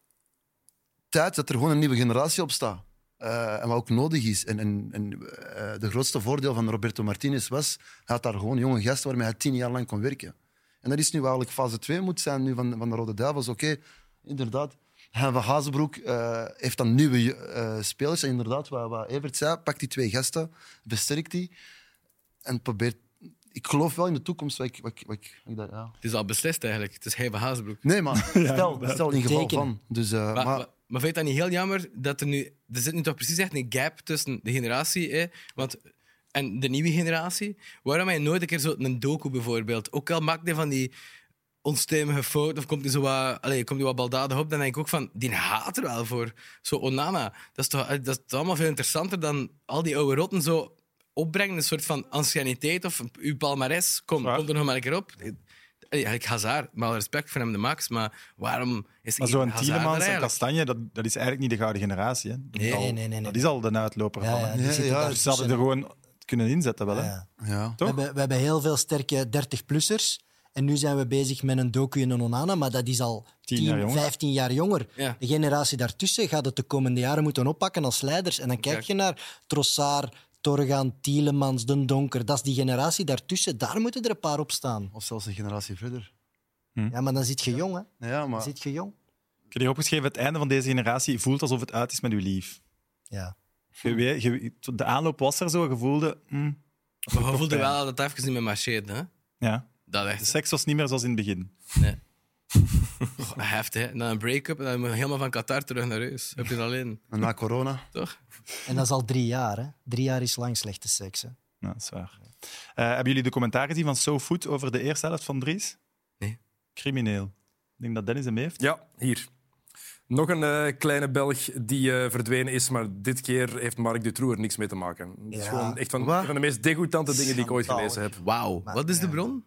S3: tijd dat er gewoon een nieuwe generatie op staat. Eh, en wat ook nodig is. En, en, en eh, de grootste voordeel van Roberto Martinez was, hij had daar gewoon jonge gasten waarmee hij tien jaar lang kon werken. En dat is nu eigenlijk fase 2 moet zijn nu van, van de Rode Duivels. Oké, inderdaad. Hein van Hazenbroek eh, heeft dan nieuwe eh, spelers. En inderdaad, wat, wat Evert zei, pak die twee gasten, besterk die. En probeert... Ik geloof wel in de toekomst. Wat ik, wat ik, wat ik, wat ik daar- ja.
S4: Het is al beslist eigenlijk. Het is Heibe Hazenbroek.
S3: Nee, maar stel, stel in geval
S2: Tekenen.
S3: van. Dus, eh,
S4: Maar,
S3: maar-
S4: maar, maar vind je dat niet heel jammer dat er nu. Er zit nu toch precies echt een gap tussen de generatie hè, want, en de nieuwe generatie. Waarom heb je nooit een keer zo'n docu bijvoorbeeld? Ook al maakt hij van die onstuimige fout of komt hij zo wat, allez, komt hij wat baldadig op, dan denk ik ook van, die haat er wel voor. Zo Onana, dat is toch dat is toch allemaal veel interessanter dan al die oude rotten zo opbrengen, een soort van anciëniteit of uw palmares. Kom,
S1: Waar?
S4: kom er nog maar een keer op. Eigenlijk Hazard, maar alle respect voor hem de max, maar waarom is
S1: Maar
S4: hier
S1: zo'n
S4: Hazard er
S1: Tielemans en
S4: eigenlijk?
S1: Kastanje, dat, dat is eigenlijk niet de gouden generatie. Hè. Dat is
S4: Nee,
S1: al-
S2: nee, nee, nee, nee.
S1: Dat is al de uitloper
S2: Ja,
S1: van.
S2: ja,
S1: hè.
S2: die
S3: Ja,
S2: zitten
S3: ja,
S2: daar
S1: Ze hadden er
S2: tussen.
S1: gewoon kunnen inzetten wel. Hè.
S2: Ja.
S3: ja.
S2: We
S1: Toch?
S2: hebben, we hebben heel veel sterke 30-plussers. En nu zijn we bezig met een docu en een Onana, maar dat is al
S1: 10
S2: 10,
S1: jaar jonger.
S2: 15 jaar jonger.
S4: Ja.
S2: De generatie daartussen gaat het de komende jaren moeten oppakken als leiders. En dan kijk je naar Trossard, Torgaan, Tielemans, Den Donker. Dat is die generatie daartussen. Daar moeten er een paar op staan.
S3: Of zelfs een generatie verder.
S2: Ja, maar dan zit je jong, hè.
S3: Ja,
S2: Dan
S3: maar...
S2: zit je jong.
S1: Ik heb hier opgeschreven, het einde van deze generatie voelt alsof het uit is met uw lief.
S2: Ja.
S1: Je weet- je- de aanloop was er zo, je voelde... mm,
S4: Maar we voelden
S1: pijn.
S4: wel dat het even niet meer marcheerde. Hè?
S1: ja.
S4: Dat
S1: De
S4: echt
S1: seks was niet meer zoals in het begin.
S4: goh, heftig. hè. En dan een break-up en dan moet je helemaal van Qatar terug naar huis. Heb je dat alleen,
S3: En na corona.
S4: toch?
S2: En dat is al drie jaar, hè. Drie jaar is lang slechte seks, hè.
S1: Ja, Nou, dat is waar. Eh, hebben jullie de commentaar gezien van SoFood over de eerste helft van Dries?
S4: Nee.
S1: Crimineel. Ik denk dat Dennis hem heeft.
S5: Ja, hier. Nog een eh, kleine Belg die eh, verdwenen is, maar dit keer heeft Mark Dutroux er niks mee te maken. Dat is
S2: Ja.
S5: gewoon echt van,
S3: Wat?
S5: een van de meest degoutante dingen die ik ooit
S2: Schandalig.
S5: gelezen heb.
S4: Wauw. Wat is de bron?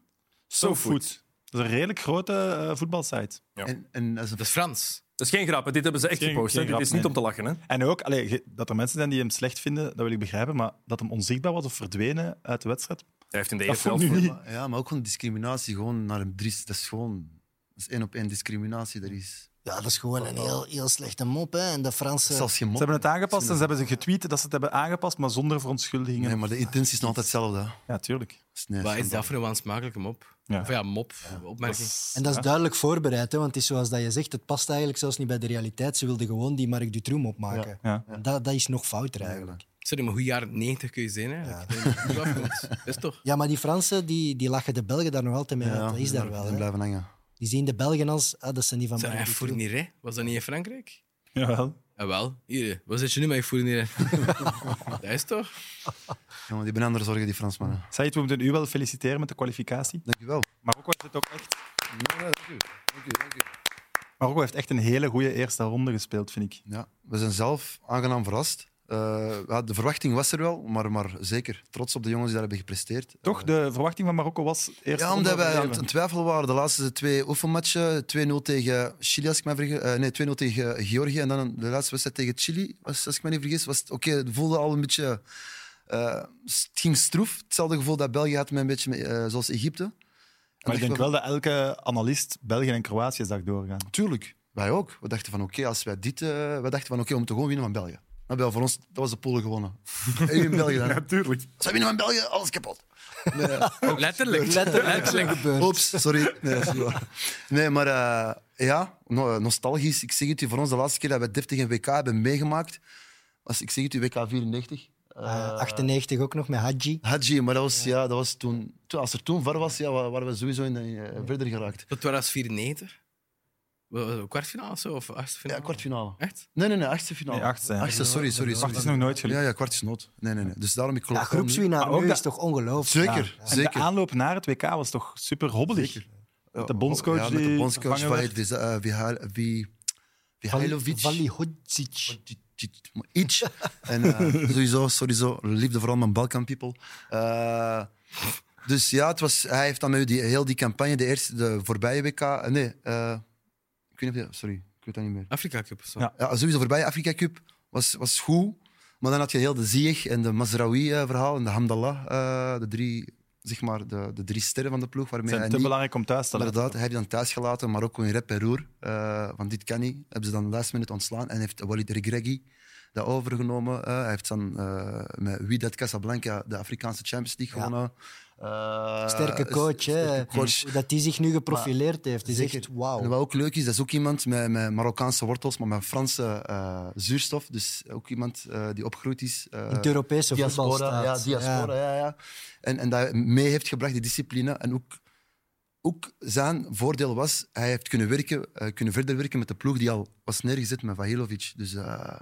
S1: SoFood. Dat is een redelijk grote eh, voetbalsite.
S5: Ja.
S3: En, en dat is een
S4: Dat is Frans.
S5: Dat is geen grap, hè. dit hebben ze echt
S1: Geen-
S5: gepost. hè.
S1: geen
S5: Dit
S1: grap,
S5: is niet
S1: nee.
S5: om te lachen. Hè?
S1: En ook allee, ge- dat er mensen zijn die hem slecht vinden, dat wil ik begrijpen, maar dat hem onzichtbaar was of verdwenen uit de wedstrijd.
S5: Hij heeft in de
S1: Dat
S5: eerste
S1: vond
S5: helft-
S1: nu niet.
S3: Maar, ja, maar ook gewoon discriminatie. Gewoon naar een Dries. Dat is gewoon... Dat is één op één discriminatie. Dat is
S2: Ja, dat is gewoon een heel, heel slechte mop, hè. En de Franse...
S3: zelfs geen
S1: Ze
S3: mop.
S1: hebben het aangepast en ze hebben ze getweet dat ze het hebben aangepast, maar zonder verontschuldigingen.
S3: Nee, maar de intentie is nog altijd hetzelfde. hè. Dat
S1: Ja, tuurlijk.
S3: is- nee,
S4: Wat is
S3: schandaal.
S4: dat voor een wansmakelijke mop?
S1: Ja.
S4: Of ja, mop, opmerking.
S2: En dat is duidelijk voorbereid, hè? want het is zoals dat je zegt, het past eigenlijk zelfs niet bij de realiteit. Ze wilden gewoon die Mark Dutroux opmaken.
S1: Ja.
S2: En Dat, dat is nog fouter eigenlijk.
S4: Sorry, maar hoe jaar 90 kun je zijn? Hè? Dat je er niet afkomt. Is toch?
S2: Ja, maar die Fransen die, die lachen de Belgen daar nog altijd mee
S3: Ja,
S2: uit. Dat is daar wel.
S3: En
S2: hè.
S3: blijven hangen.
S2: Die zien de Belgen als, ah, dat zijn die van
S4: Zijn
S2: Mark
S4: hij
S2: Dutroux.
S4: Fournier? Was dat niet in Frankrijk?
S1: Jawel.
S4: Ah, wel. Hier, wat zit je nu met je Fournier? dat is toch?
S3: Ja, maar die hebben andere zorgen, die Fransmannen.
S1: Said, we moeten u wel feliciteren met de kwalificatie.
S3: Dankjewel.
S1: Marokko heeft, het ook echt,
S3: Ja, dank u. Dank u, dank u.
S1: Marokko heeft echt een hele goede eerste ronde gespeeld, vind ik.
S3: Ja, we zijn zelf aangenaam verrast. Eh, ja, de verwachting was er wel, maar, maar zeker. Trots op de jongens die daar hebben gepresteerd.
S1: Toch, de verwachting van Marokko was eerst.
S3: Ja, omdat wij aan het twijfelen waren. De laatste twee oefenmatchen. 2-0 tegen Chili, als ik me vergis. eh, nee, 2-0 tegen Georgië. En dan een- de laatste wedstrijd tegen Chili, was, als ik me niet vergis. Was het, oké, het voelde al een beetje... eh, het ging stroef. Hetzelfde gevoel dat België had met een beetje met, eh, zoals Egypte. En
S1: Maar ik
S3: dachten
S1: denk
S3: we
S1: wel dat elke analist België en Kroatië zag doorgaan.
S3: van, Tuurlijk, wij ook. We dachten van, oké, als wij dit... eh, wij dachten van, oké, we moeten gewoon winnen van België. Maar wel, voor ons, dat was de pool gewonnen. En in België dan.
S5: Natuurlijk.
S3: Zij winnen van België, alles kapot.
S4: Letterlijk. Letterlijk.
S3: Oeps, sorry. Nee, dat is niet waar. Nee, maar eh, ja, no- eh, nostalgisch. Ik zeg het u, voor ons de laatste keer dat we 30 en WK hebben meegemaakt, was, ik zeg het u, WK 94.
S2: Eh, 98 ook nog met Hadji.
S3: Hadji, maar dat was, ja, dat was toen, toen- Als er toen var was, ja, wa- waren we sowieso in, de- eh, verder geraakt.
S4: Dat was 94? Wa- wa- Kwartfinale of zo? Of
S3: Ja,
S4: achtfinale?
S3: kwartfinale.
S4: Echt?
S3: Nee, nee, nee, achtste finale.
S1: Nee, achtste, ja.
S3: Achtste, sorry, sorry.
S1: Wacht,
S3: sorry.
S1: dat is nog nooit gelukt.
S3: Ja, ja, kwart is nood. Nee, nee, nee. Dus daarom, ik geloof
S2: Ja,
S3: wel nu-
S2: groepswinnaar
S1: Maar ook
S2: nu
S1: dat-
S2: is toch ongelooflijk?
S3: Zeker,
S1: Ja. En de
S3: zeker.
S1: aanloop naar het WK was toch super hobbelig. Met de bondscoach
S3: Oh, Ja, met de
S1: die
S3: bondscoach.
S1: vervangen werd.
S3: Vahid Viz- eh, Vihal- Vi- Vihailovic.
S2: Valihodzic.
S3: Maar Iets. En eh, sowieso, sowieso, liefde vooral mijn Balkan people. Eh, dus ja, het was, hij heeft dan nu die, heel die campagne, de eerste, de voorbije WK. eh, Nee, eh, ik weet niet, of- sorry, ik weet dat niet meer.
S4: Afrika Cup of zo.
S1: Ja.
S3: Ja, sowieso voorbije Afrika Cup was, was goed. Maar dan had je heel de Ziyech en de Mazraoui-verhaal en de Hamdallah, eh, de drie zeg maar, de, de drie sterren van de ploeg. Waarmee
S1: zijn
S3: hij
S1: te
S3: niet-
S1: belangrijk om thuis te laten.
S3: Inderdaad, hij heeft dan thuisgelaten, maar ook in rep en roer. eh, van dit kan niet. Hebben ze dan de laatste minuut ontslaan en heeft Walid Regregi dat overgenomen. Eh, hij heeft dan eh met Wydad Casablanca de Afrikaanse Champions League
S2: Ja.
S3: gewonnen. Eh,
S2: Sterke
S3: s-
S2: coach, hè.
S3: sterke coach.
S2: Hoe Dat die zich nu geprofileerd heeft. Het is
S3: Zeker.
S2: echt
S3: En
S2: wauw.
S3: wat ook leuk is, dat is ook iemand met, met Marokkaanse wortels, maar met Franse eh, zuurstof. Dus ook iemand eh, die opgegroeid is. eh,
S2: In het Europese voetbal
S3: diaspora,
S2: staat.
S3: ja, diaspora, ja. ja, En, en dat mee heeft gebracht, die discipline. En ook, ook zijn voordeel was, hij heeft kunnen, werken, eh, kunnen verder werken met de ploeg die al was neergezet met Vahilovic. Dus eh,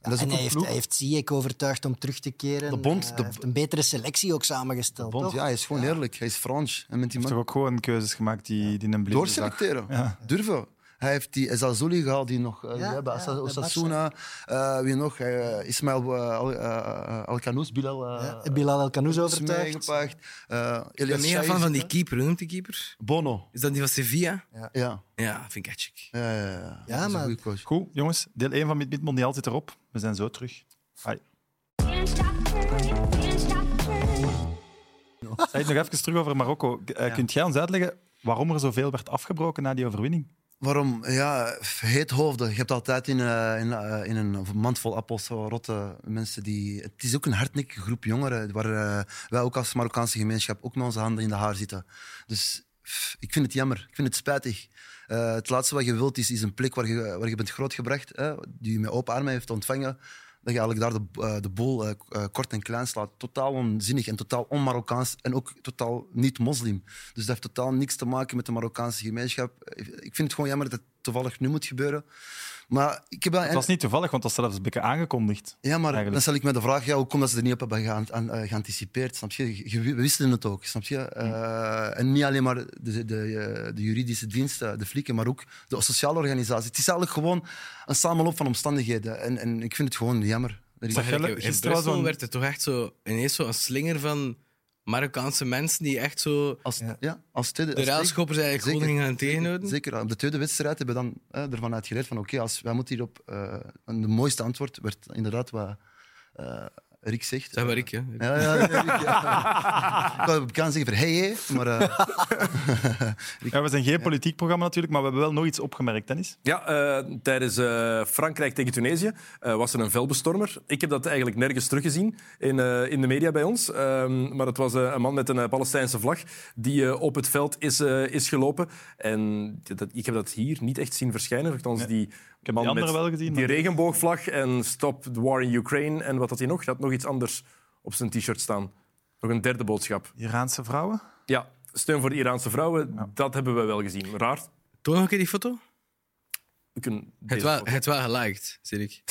S3: en dat is
S2: en
S3: ook
S2: hij
S3: een
S2: heeft,
S3: ploeg.
S2: hij heeft Ziyech overtuigd om terug te keren.
S3: De bond,
S2: Eh,
S3: de-
S2: hij heeft een betere selectie ook samengesteld,
S3: Bond,
S2: toch?
S3: ja, hij is gewoon eerlijk. Hij is Frans. En met die
S1: Hij heeft
S3: man
S1: toch ook gewoon keuzes gemaakt die, die een blind
S3: doorselecteren.
S1: Ja.
S3: Durven. Hij heeft die Ezazuli gehaald, die nog eh, die
S2: Ja,
S3: hebben.
S2: ja,
S3: Assa-
S2: bij
S3: Osasuna, eh, wie nog? Eh, Ismail eh, Al- eh, Alkanous, Bilal. eh,
S2: Ja, Bilal El Canoes
S3: is
S2: overtuigd.
S3: meegepakt. Eh,
S4: Ik ben
S3: Elias
S4: mega
S3: Shai
S4: fan
S3: is
S4: van
S3: het,
S4: die
S3: hè?
S4: keeper. Hoe noemt die keeper?
S3: Bono.
S4: Is dat die van Sevilla?
S3: Ja. Ja,
S4: Ja, vind ik echt chic.
S3: ja, ja, ja.
S2: Ja,
S3: Dat is
S2: maar-
S3: een goede coach.
S1: Goed, jongens. Deel 1 van Mid Mid Mondiaal zit erop. We zijn zo terug. Hai.
S6: Can't stop turning, can't stop turning.
S1: Zeg nog even terug over Marokko. Eh, Kunt jij ons uitleggen waarom er zoveel werd afgebroken na die overwinning?
S3: Waarom? Ja, heet hoofden. Je hebt altijd in, eh, in, eh, in een mand vol appels zo rotte mensen die... Het is ook een hardnekkige groep jongeren waar eh, wij ook als Marokkaanse gemeenschap ook met onze handen in de haar zitten. Dus pff, ik vind het jammer. Ik vind het spijtig. Eh, het laatste wat je wilt is, is een plek waar je, waar je bent grootgebracht, hè, die je met open armen heeft ontvangen. Dat je eigenlijk daar de, eh, de boel eh, k- eh, kort en klein slaat. Totaal onzinnig en totaal on-Marokkaans en ook totaal niet-moslim. Dus dat heeft totaal niks te maken met de Marokkaanse gemeenschap. Ik vind het gewoon jammer dat het toevallig nu moet gebeuren. Maar ik heb wel-
S1: Het was niet toevallig, want dat was zelfs een beetje aangekondigd.
S3: ja, maar
S1: Eigenlijk.
S3: dan stel ik me de vraag, ja, hoe komt dat ze er niet op hebben geant- aan- eh, geanticipeerd? Snap je? Je- je- We wisten het ook, snap je?
S1: Hm.
S3: Eh, En niet alleen maar de, de, eh, de juridische diensten, de flikken, maar ook de sociale organisatie. Het is eigenlijk gewoon een samenloop van omstandigheden. En, en ik vind het gewoon jammer. Er is-
S1: Zeg,
S4: Kijk,
S1: Gelle,
S4: in
S1: gisteren was
S4: Brussel
S1: zo'n-
S4: werd er toch echt zo ineens zo een slinger van Marokkaanse mensen die echt zo
S3: als, ja. als tweede...
S4: de
S3: als tweede-
S4: railschoppers eigenlijk
S3: Zeker.
S4: gewoon gingen gaan tegenhouden.
S3: Zeker, op de tweede wedstrijd hebben we dan eh, ervan uitgeleerd van oké, als wij moeten hierop... eh, en de mooiste antwoord werd inderdaad wat eh, Rick zegt.
S4: Zeg maar ik, hè.
S3: Ja, ja, ja, Rick, ja. Ik wou op kan zeggen van hey, hey, maar... eh,
S1: Ja, we zijn geen politiek programma natuurlijk, maar we hebben wel nog iets opgemerkt, Dennis.
S5: Ja, eh, tijdens eh, Frankrijk tegen Tunesië eh, was er een velbestormer. Ik heb dat eigenlijk nergens teruggezien in, eh, in de media bij ons. Ehm, maar het was eh, een man met een eh, Palestijnse vlag die eh, op het veld is, eh, is gelopen. En dat, ik heb dat hier niet echt zien verschijnen. Althans, die
S1: heb
S5: man
S1: die andere
S5: met
S1: wel gezien,
S5: die
S1: maar-
S5: regenboogvlag en Stop the War in Ukraine. En wat had hij nog? Hij had nog iets anders op zijn t-shirt staan. Nog een derde boodschap.
S1: Iraanse vrouwen?
S5: Ja, steun voor de Iraanse vrouwen, dat hebben we wel gezien. Raar.
S4: Toon nog een keer die foto?
S5: We kunnen
S4: Het
S5: deze
S4: wel,
S5: foto-
S4: het wel geliked, zie ik.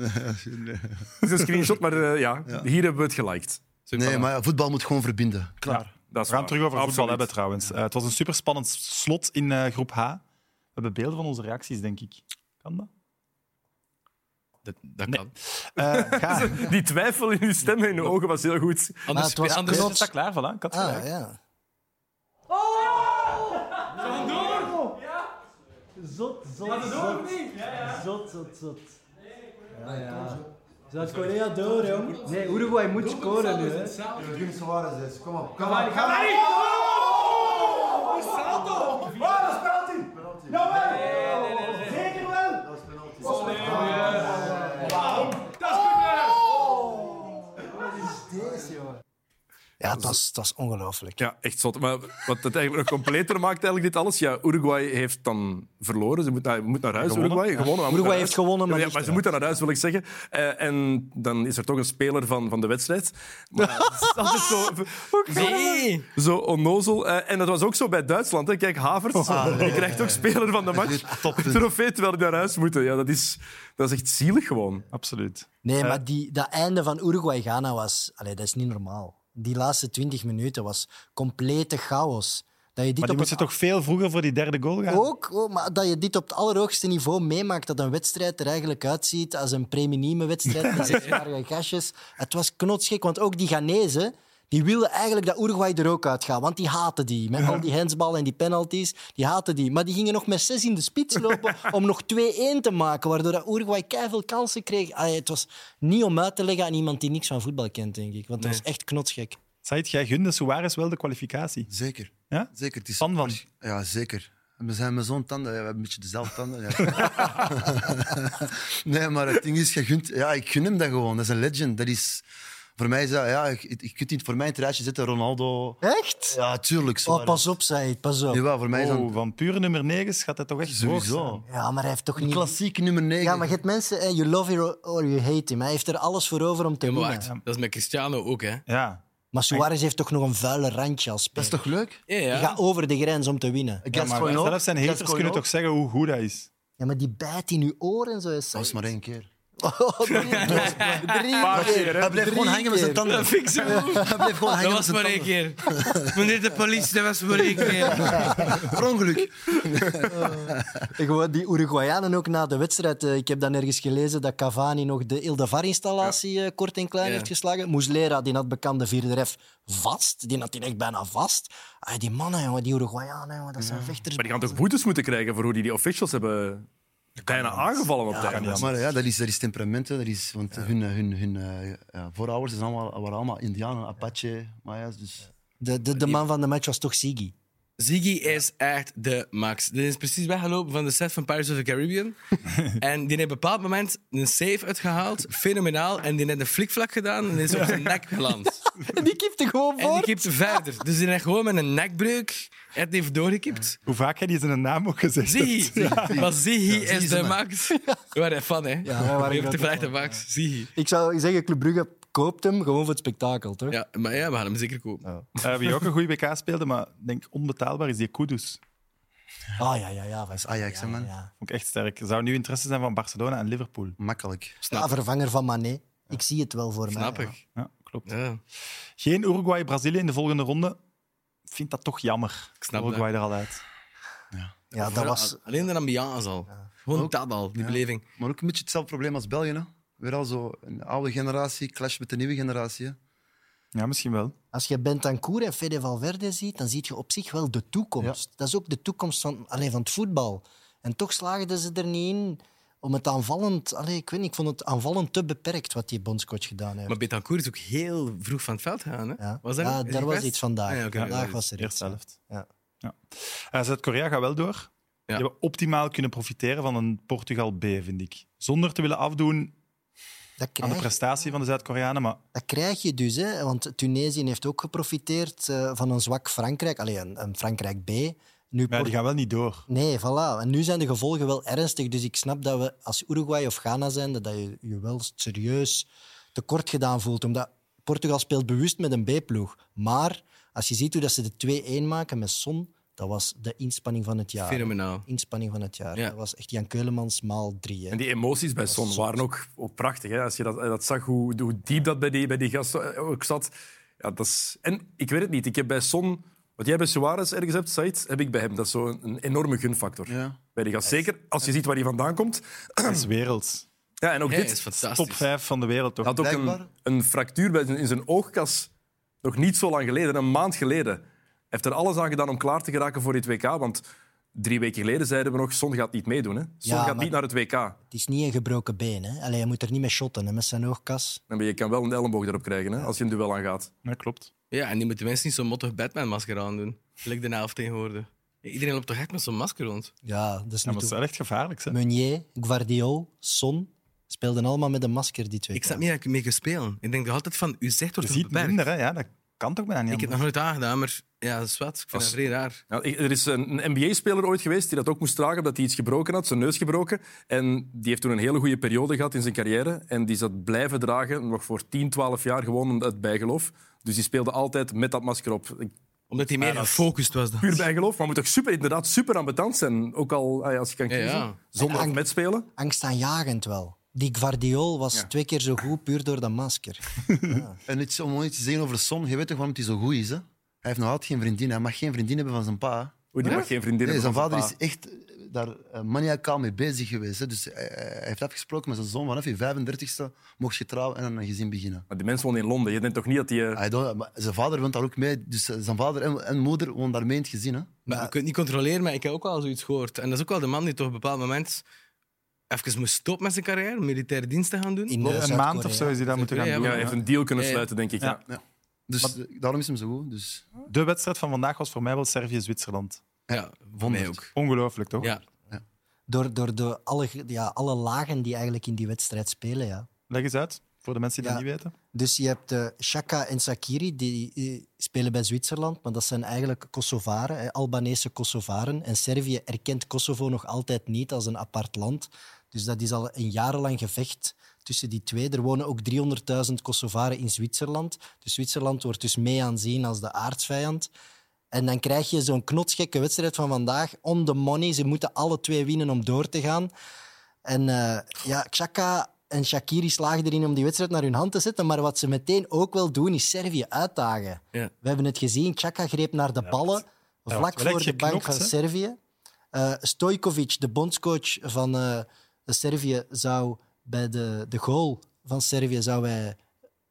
S5: Het is een screenshot, maar eh, ja, hier hebben we het geliked.
S3: Nee, maar ja, voetbal moet gewoon verbinden. Klaar.
S5: Dat is
S1: We gaan
S5: waar.
S1: het terug over voetbal
S5: Absoluut.
S1: hebben trouwens. Eh, het was een superspannend slot in eh, groep H. We hebben beelden van onze reacties, denk ik. Kan dat?
S4: Dat, dat
S1: Nee.
S4: kan.
S1: Eh, ga.
S5: Die twijfel in uw stem en in uw ogen was heel goed.
S4: Anders,
S2: het was
S4: spe- anders,
S1: Is het dat klaar? Voilà, ik had gelijk.
S2: Ah, ja.
S7: Zot, zot, zot. Zot, zot, zot. Ja, ja. Zuid-Korea door, jong. Nee, Uruguay moet scoren nu, hè. Cavani, Cavani!
S2: Ja, het was, het was ongelooflijk.
S5: Ja, echt zot. Maar wat het eigenlijk nog completer maakt, eigenlijk dit alles. Ja, Uruguay heeft dan verloren. Ze moet naar, moet naar huis,
S1: Gewonnen.
S5: Uruguay. Gewonnen, maar moet
S2: Uruguay
S5: naar
S2: heeft
S5: huis.
S2: gewonnen, maar
S5: Ja,
S2: niet
S5: ze moeten naar huis, wil ik zeggen. Eh, en dan is er toch een speler van, van de wedstrijd. Maar ja, dat is altijd zo...
S4: Nee.
S5: Zo onnozel. Eh, en dat was ook zo bij Duitsland. Hè. Kijk, Havertz, die krijgt ook speler van de match. Trofee terwijl die naar huis moeten. Ja, dat, is, dat is echt zielig gewoon.
S1: Absoluut.
S2: Nee,
S3: Eh.
S2: maar die, dat einde van Uruguay-Ghana was... Allee, dat is niet normaal. Die laatste 20 minuten was complete chaos. Dat je dit
S1: Maar die
S2: op
S1: moesten
S2: het-
S1: toch veel vroeger voor die derde goal gaan?
S2: Ook, oh, maar dat je dit op het allerhoogste niveau meemaakt, dat een wedstrijd er eigenlijk uitziet als een preminieme wedstrijd met zesjarige gastjes. Het was knotsgek, want ook die Ghanezen die wilden eigenlijk dat Uruguay er ook uit gaat, want die haten die. Met al die handsballen en die penalties, die haten die. Maar die gingen nog met zes in de spits lopen om nog 2-1 te maken, waardoor dat Uruguay keiveel kansen kreeg. Allee, het was niet om uit te leggen aan iemand die niks van voetbal kent, denk ik, want het was echt knotsgek.
S1: Said, jij gunde Suarez wel de kwalificatie.
S3: Zeker.
S1: Ja?
S3: Zeker. Het is
S1: Fan van.
S3: Ja, zeker. We zijn met zo'n tanden, ja, we hebben een beetje dezelfde tanden. Ja. nee, maar het ding is, je gunt, ja, ik gun hem dat gewoon. Dat is een legend. Dat is, voor mij is dat, ja, ik, ik kunt niet voor mij in het rijtje zetten, Ronaldo.
S2: Echt?
S3: Ja, tuurlijk. Suarez.
S2: Oh, pas op, zei Pas op.
S3: Jawel, voor mij is dat
S1: Oh, van pure nummer 9 gaat dat toch echt hoog
S3: sowieso.
S1: staan.
S2: Ja, maar hij heeft toch
S3: Een
S2: niet...
S3: klassieke nummer 9.
S2: Ja, maar je hebt mensen, eh, you love him or you hate him. Hij heeft er alles voor over om te
S4: Ja, maar
S2: winnen.
S4: wacht, dat is met Cristiano ook, hè?
S1: Ja.
S2: Maar Suarez heeft toch nog een vuile randje als
S3: Dat is
S2: speler.
S3: toch leuk?
S4: Ja,
S2: Je
S4: ja.
S2: gaat over de grens om te winnen.
S1: ja maar
S3: Gascoigne ook.
S1: zelfs zijn haters
S3: Gascoigne
S1: kunnen
S3: ook.
S1: toch zeggen hoe goed hij is.
S2: Ja, maar die bijt in je oren en zo. Is
S3: Dat was maar één keer.
S2: Oh, drie
S5: Paar
S2: keer.
S5: keer, hè.
S3: Hij bleef gewoon hangen met zijn
S2: keer.
S3: tanden.
S4: Dat vind ik zo goed.
S3: Hij bleef gewoon
S4: Dat
S3: hangen met
S4: was
S3: zijn
S4: maar één
S3: tanden.
S4: keer. Meneer de politie, dat was maar één keer.
S3: Per ongeluk.
S2: Gewoon die Uruguayanen ook na de wedstrijd. eh, Ik heb dan ergens gelezen dat Cavani nog de Ildevar-installatie eh, kort en klein
S4: Ja.
S2: heeft geslagen. Muslera, die had bekende vierde ref vast. Die had die echt bijna vast. Ah, die mannen, jongen, die Uruguayanen, jongen, dat zijn vechters.
S5: Maar die gaan toch boetes moeten krijgen voor hoe die, die officials hebben bijna aangevallen op tijd.
S1: niet
S3: Maar ja, dat is, dat is temperament. hè. Dat is, want hun, hun, hun eh, ja, voorouders zijn allemaal, waren allemaal Indianen, Apache, Maya's. Dus
S2: De, de, de man van de match was toch Sigi.
S4: Ziggy is echt de max. Dit is precies weggelopen van de set van Pirates of the Caribbean. en die heeft op een bepaald moment een save uitgehaald. Fenomenaal. En die heeft een flikvlak gedaan en is op zijn nek geland.
S2: En die kipte gewoon
S4: En die
S2: voor.
S4: kipte verder. Dus die heeft gewoon met een nekbreuk het heeft doorgekipt.
S1: Hoe vaak hij die zijn naam ook gezegd
S4: Ziggy.
S1: hebt.
S4: Maar Ziggy
S3: Ziggy
S4: is
S3: is
S4: de
S3: een
S4: max. We waren fan, hè?
S2: wij waren
S4: Je hebt
S2: grote
S4: de vijfde
S2: fan,
S4: max. Ziggy.
S2: Ik zou zeggen, Club Brugge koopt hem gewoon voor het spektakel, toch?
S4: Ja, maar ja, we gaan hem zeker kopen.
S1: Eh, wie ook een goede WK speelde, maar ik denk onbetaalbaar, is die Kudus.
S2: Ah, ja, ja, ja. Dat
S3: is Ajax, hè, man.
S2: Ja.
S1: Vond ik echt sterk. Zou nu interesse zijn van Barcelona en Liverpool.
S3: makkelijk.
S4: Snap.
S2: Ja, vervanger van Mané. Ik zie het wel voor
S4: Snap
S2: mij.
S4: ik.
S1: Ja, klopt.
S4: Ja.
S1: Geen Uruguay-Brazilië in de volgende ronde. Ik vind dat toch jammer.
S4: Ik snap
S1: Uruguay er al uit.
S2: Ja, dat was...
S4: Alleen de ambiance al. Gewoon
S3: Ook-
S4: dat al, die beleving.
S3: Maar ook een beetje hetzelfde probleem als België. Hè? Weer al zo een oude generatie, clash met de nieuwe generatie. hè.
S1: Ja, misschien wel.
S2: Als je Bentancur en Fede Valverde ziet, dan zie je op zich wel de toekomst. Dat is ook de toekomst van, allee, van het voetbal. En toch slaagden ze er niet in om het aanvallend... Allee, ik weet niet, ik vond het aanvallend te beperkt wat die bondscoach gedaan heeft.
S4: Maar Betancourt is ook heel vroeg van het veld gegaan. Hè?
S2: ja.
S4: Was dat
S2: Ja,
S4: niet? Is
S2: daar
S4: die
S2: was
S4: best?
S2: iets vandaag.
S4: Ah, ja, oké.
S2: Vandaag was er iets.
S1: Eerste helft.
S2: Ja.
S1: Ja. Eh, Zuid-Korea gaat wel door. Die hebben optimaal kunnen profiteren van een Portugal B, vind ik. Zonder te willen afdoen
S2: Dat
S1: aan de
S2: krijg
S1: prestatie van de Zuid-Koreanen, maar
S2: Dat krijg je dus, hè? want Tunesië heeft ook geprofiteerd eh, van een zwak Frankrijk. Allee, een, een Frankrijk B. Nu
S1: ja, die gaan wel niet door.
S2: Nee, voilà. En nu zijn de gevolgen wel ernstig. Dus ik snap dat we als Uruguay of Ghana zijn, dat je je wel serieus tekort gedaan voelt. Omdat Portugal speelt bewust met een B-ploeg. Maar als je ziet hoe dat ze de 2-1 maken met Son, dat was de inspanning van het jaar.
S4: Fenomenaal.
S2: Inspanning van het jaar.
S4: Ja.
S2: Dat was echt Jan Keulemans maal drie. Hè.
S5: En die emoties bij Son waren ook, ook prachtig. Hè? Als je dat, eh, dat zag, hoe, hoe diep dat bij die, bij die gast eh, ook zat. Ja, dat is... En ik weet het niet, ik heb bij Son... Wat jij bij Suarez ergens hebt, Said, heb ik bij hem. Dat is zo'n een enorme gunfactor
S3: Ja.
S5: bij die gast. Zeker als je ziet waar hij vandaan komt.
S1: Dat is werelds.
S5: Ja, en ook
S4: Hij is
S5: dit.
S1: Top
S4: fantastisch.
S1: 5 van de wereld, toch?
S5: Hij had ook een,
S3: Blijkbaar.
S5: een fractuur bij zijn, in zijn oogkas nog niet zo lang geleden, een maand geleden. Hij heeft er alles aan gedaan om klaar te geraken voor dit WK, want drie weken geleden zeiden we nog, Son gaat niet meedoen. Hè? Son
S2: Ja,
S5: gaat
S2: maar-
S5: niet naar het WK.
S2: Het is niet een gebroken been. Hè. Allee, je moet er niet mee shotten hè, met zijn oogkas.
S5: En je kan wel een elleboog erop krijgen hè, als je een duel aangaat.
S1: Ja, klopt.
S4: Ja, en die moeten mensen niet zo'n mottig Batman-masker aandoen. Lijkt de helft tegenwoordig. Ja, Iedereen loopt toch echt met zo'n masker rond?
S2: Ja, dat is
S1: Ja, maar
S2: niet
S1: het is
S2: toe.
S1: wel echt gevaarlijk. Hè?
S2: Meunier, Guardiol, Son speelden allemaal met een masker, die twee.
S4: Ik snap niet dat ik mee kan spelen. Ik denk nog altijd van, u zegt
S1: Je
S4: wordt
S1: ziet
S4: beperkt.
S1: minder, hè? Ja, dat kan toch bijna niet.
S4: Ik heb het nog
S1: anders.
S4: nooit aangedaan, maar ja, dat is wat. Ik vind dat vrij raar.
S5: Ja, ik- er is een, een NBA-speler ooit geweest die dat ook moest dragen omdat hij iets gebroken had, zijn neus gebroken. En die heeft toen een hele goede periode gehad in zijn carrière. En die zat blijven dragen, nog voor 10, 12 jaar, gewoon uit bijgeloof. Dus die speelde altijd met dat masker op. Ik-
S4: Omdat hij meer gefocust was dan.
S5: Puur bijgeloof, maar moet toch super, inderdaad super ambetant zijn. Ook al ah ja, als je kan
S4: Ja,
S5: kiezen,
S4: ja.
S5: zonder of
S2: Ang-
S5: met spelen.
S2: angstaanjagend wel. Die Guardiol was twee keer zo goed puur door dat masker.
S3: En iets, om iets te zeggen over Son, je weet toch waarom hij zo goed is? Hè? Hij heeft nog altijd geen vriendin. Hij mag geen vriendin hebben van zijn pa. hè.
S5: Oei, die mag geen vriendin
S3: Nee, zijn
S5: hebben van
S3: vader is
S5: pa.
S3: echt eh, daar eh, maniacaal mee bezig geweest. Hè? Dus hij, hij heeft afgesproken met zijn zoon vanaf je 35ste mocht je trouwen en aan een gezin beginnen.
S5: Maar die mensen wonen in Londen. Je denkt toch niet dat die... eh,
S3: Hij doet- maar zijn vader woont daar ook mee. Dus eh, zijn vader en, en moeder wonen daar mee in het gezin. Hè?
S4: Maar je kunt het niet controleren, maar ik heb ook wel zoiets gehoord. En dat is ook wel de man die toch op een bepaald moment even moest stoppen met zijn carrière, militaire dienst te gaan doen.
S2: In eh,
S1: een maand
S2: Zuid-Korea.
S1: of zo is hij dat moeten gaan
S4: Ja,
S1: doen.
S5: Ja, hij
S1: ja.
S5: heeft een deal kunnen
S4: Ja, ja.
S5: sluiten, denk ik. Ja.
S1: Ja.
S3: Dus eh, daarom is hem zo goed. Dus.
S1: De wedstrijd van vandaag was voor mij wel Servië-Zwitserland.
S4: Ja, voor mij ook.
S1: Ongelooflijk, toch?
S4: Ja.
S2: Door, door de, alle, ge- ja, alle lagen die eigenlijk in die wedstrijd spelen. Ja.
S1: Leg eens uit, voor de mensen die dat
S2: Ja.
S1: niet weten.
S2: Dus je hebt eh Shaka en Sakiri, die eh, spelen bij Zwitserland, maar dat zijn eigenlijk Kosovaren, eh, Albanese Kosovaren. En Servië erkent Kosovo nog altijd niet als een apart land. Dus dat is al een jarenlang gevecht tussen die twee. Er wonen ook 300.000 Kosovaren in Zwitserland. Dus Zwitserland wordt dus mee aanzien als de aardsvijand. En dan krijg je zo'n knotsgekke wedstrijd van vandaag. On the money. Ze moeten alle twee winnen om door te gaan. En eh, ja, Xhaka en Shakiri slagen erin om die wedstrijd naar hun hand te zetten. Maar wat ze meteen ook wel doen, is Servië uitdagen.
S4: Ja.
S2: We hebben het gezien. Xhaka greep naar de ballen.
S1: Hij
S2: Vlak
S1: wordt wel
S2: voor
S1: echt
S2: de bank
S1: geknokt,
S2: van
S1: hè?
S2: Servië. Eh Stojkovic, de bondscoach van eh, Servië, zou bij de, de goal van Servië zou hij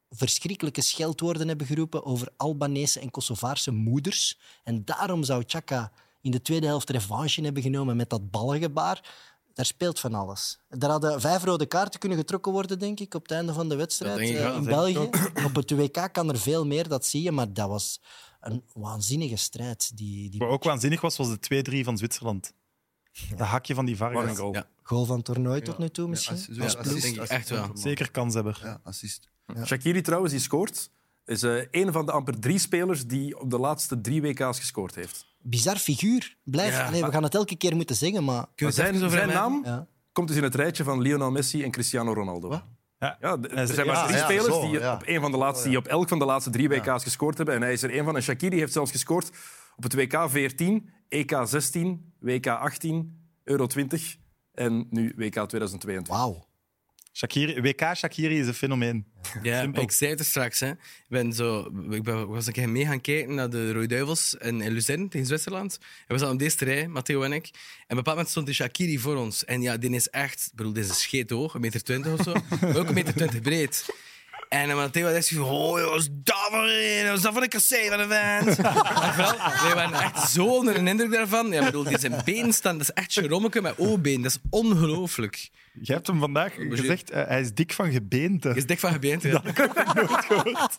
S2: verschrikkelijke scheldwoorden hebben geroepen over Albanese en Kosovaarse moeders. En daarom zou Chaka in de tweede helft revanche hebben genomen met dat ballengebaar. Daar speelt van alles. Daar hadden vijf rode kaarten kunnen getrokken worden, denk ik, op het einde van de wedstrijd
S4: denk ik
S2: eh,
S4: wel,
S2: in
S1: dat denk
S2: België.
S1: ik
S2: Op het WK kan er veel meer, dat zie je, maar dat was een waanzinnige strijd. Die, die
S1: Wat ook waanzinnig was, was de 2-3 van Zwitserland. Dat hakje van die
S5: Wat een
S1: Vargas.
S5: goal.
S4: Ja.
S2: goal van het toernooi tot
S3: Ja.
S2: nu toe
S3: Ja,
S2: misschien.
S3: assi-
S4: Ja,
S3: zoals
S4: dat denk ik
S3: assist,
S4: echt wel.
S3: assist.
S1: Zeker kanshebber.
S3: Ja, assist.
S5: Shakiri trouwens, die scoort, is eh een van de amper drie spelers die op de laatste drie WK's gescoord heeft.
S2: Bizar figuur. Blijf.
S4: Ja.
S2: Allee, we gaan het elke keer moeten zeggen, maar...
S4: Kunnen we het
S5: zijn
S4: even over
S5: zijn
S4: hem hebben?
S5: naam
S2: Ja.
S5: komt dus in het rijtje van Lionel Messi en Cristiano Ronaldo.
S1: Ja.
S5: Ja, d-
S1: Ja,
S5: er zijn maar
S1: ja,
S5: drie
S3: ja,
S5: spelers
S3: zo,
S5: die,
S3: ja.
S5: op een van de laatste, die op elk van de laatste drie WK's gescoord hebben. En hij is er één van. En Shakiri heeft zelfs gescoord op het WK 14, EK 16, WK 18, Euro 20 en nu WK 2022.
S2: Wauw.
S1: Shakiri, WK Shakiri is een fenomeen.
S4: Ja,
S1: Simpel.
S4: ik zei het er straks. Hè. Ik, ben zo, ik ben, was een keer mee gaan kijken naar de Rode Duivels in, in Luzern tegen Zwitserland. En we zaten op deze rij, Matteo en ik. En op een bepaald moment stond die Shakiri voor ons. En ja, die is echt... Ik bedoel, deze is scheet hoog, een meter twintig of zo. maar ook een meter twintig breed. En eh, Matteo had echt zo van, oh, joh, wat is dat voor een? Wat is dat voor een kassei van een vent? Maar vooral, wij waren echt zo onder een indruk daarvan. Ja, ik bedoel, die zijn been staan, dat is echt Jerommeke met O-been. Dat is ongelooflijk.
S1: Je hebt hem vandaag gezegd, eh, hij is dik van
S4: Je
S1: gebeente.
S4: is dik van gebeente. Ja.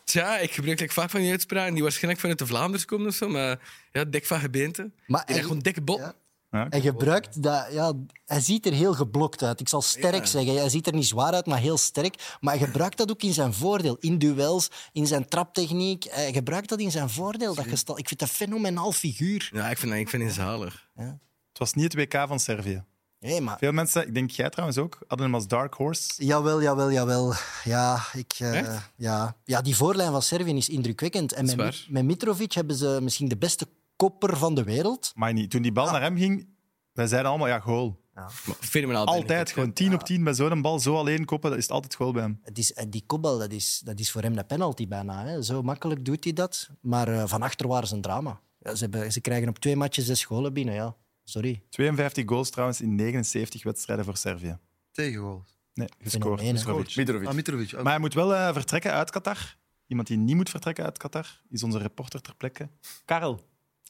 S4: Tja, ik gebruik like, vaak van die uitspraken die waarschijnlijk vanuit de Vlaanders komen of zo, maar ja, dik van gebeente.
S2: Maar
S4: Maar echt
S2: en-
S4: gewoon dikke bot.
S2: Ja.
S1: Ja.
S2: Hij gebruikt dat, ja, hij ziet er heel geblokt uit. Ik zal sterk zeggen. Hij ziet er niet zwaar uit, maar heel sterk. Maar hij gebruikt dat ook in zijn voordeel. In duels, in zijn traptechniek. Hij gebruikt dat in zijn voordeel. Dat gestel. Ik vind dat een fenomenaal figuur.
S4: Ja, ik vind dat ik vind die zalig.
S1: Het was niet het WK van Servië.
S2: Nee, maar...
S1: Veel mensen, ik denk jij trouwens ook, hadden hem als dark horse.
S2: Jawel, jawel, jawel. Ja, ik, eh,
S4: Echt?
S2: ja. ja, die voorlijn van Servië is indrukwekkend. En met,
S4: Dat is
S2: Mi- met Mitrovic hebben ze misschien de beste kopper van de wereld.
S1: Maar niet. Toen die bal naar hem ging, wij zeiden allemaal, ja, goal.
S4: Maar fenomenaal.
S1: Altijd, gewoon 10 op 10 bij zo'n bal, zo alleen koppen, dat is het altijd goal bij hem.
S2: Het is, eh, die kopbal, dat is, dat is voor hem de penalty bijna. Hè. Zo makkelijk doet hij dat. Maar eh, van achter waren ze een drama. Ja, ze, hebben, ze krijgen op twee matjes zes scholen binnen, ja. Sorry.
S1: 52 goals trouwens in 79 wedstrijden voor Servië.
S3: Tegengoal.
S1: Nee, gescoord.
S2: Fenomeen, hè?
S1: Mitrovic.
S5: Mitrovic.
S3: Ah, Mitrovic. ook.
S1: Maar hij moet wel eh, vertrekken uit Qatar. Iemand die niet moet vertrekken uit Qatar is onze reporter ter plekke. Karel.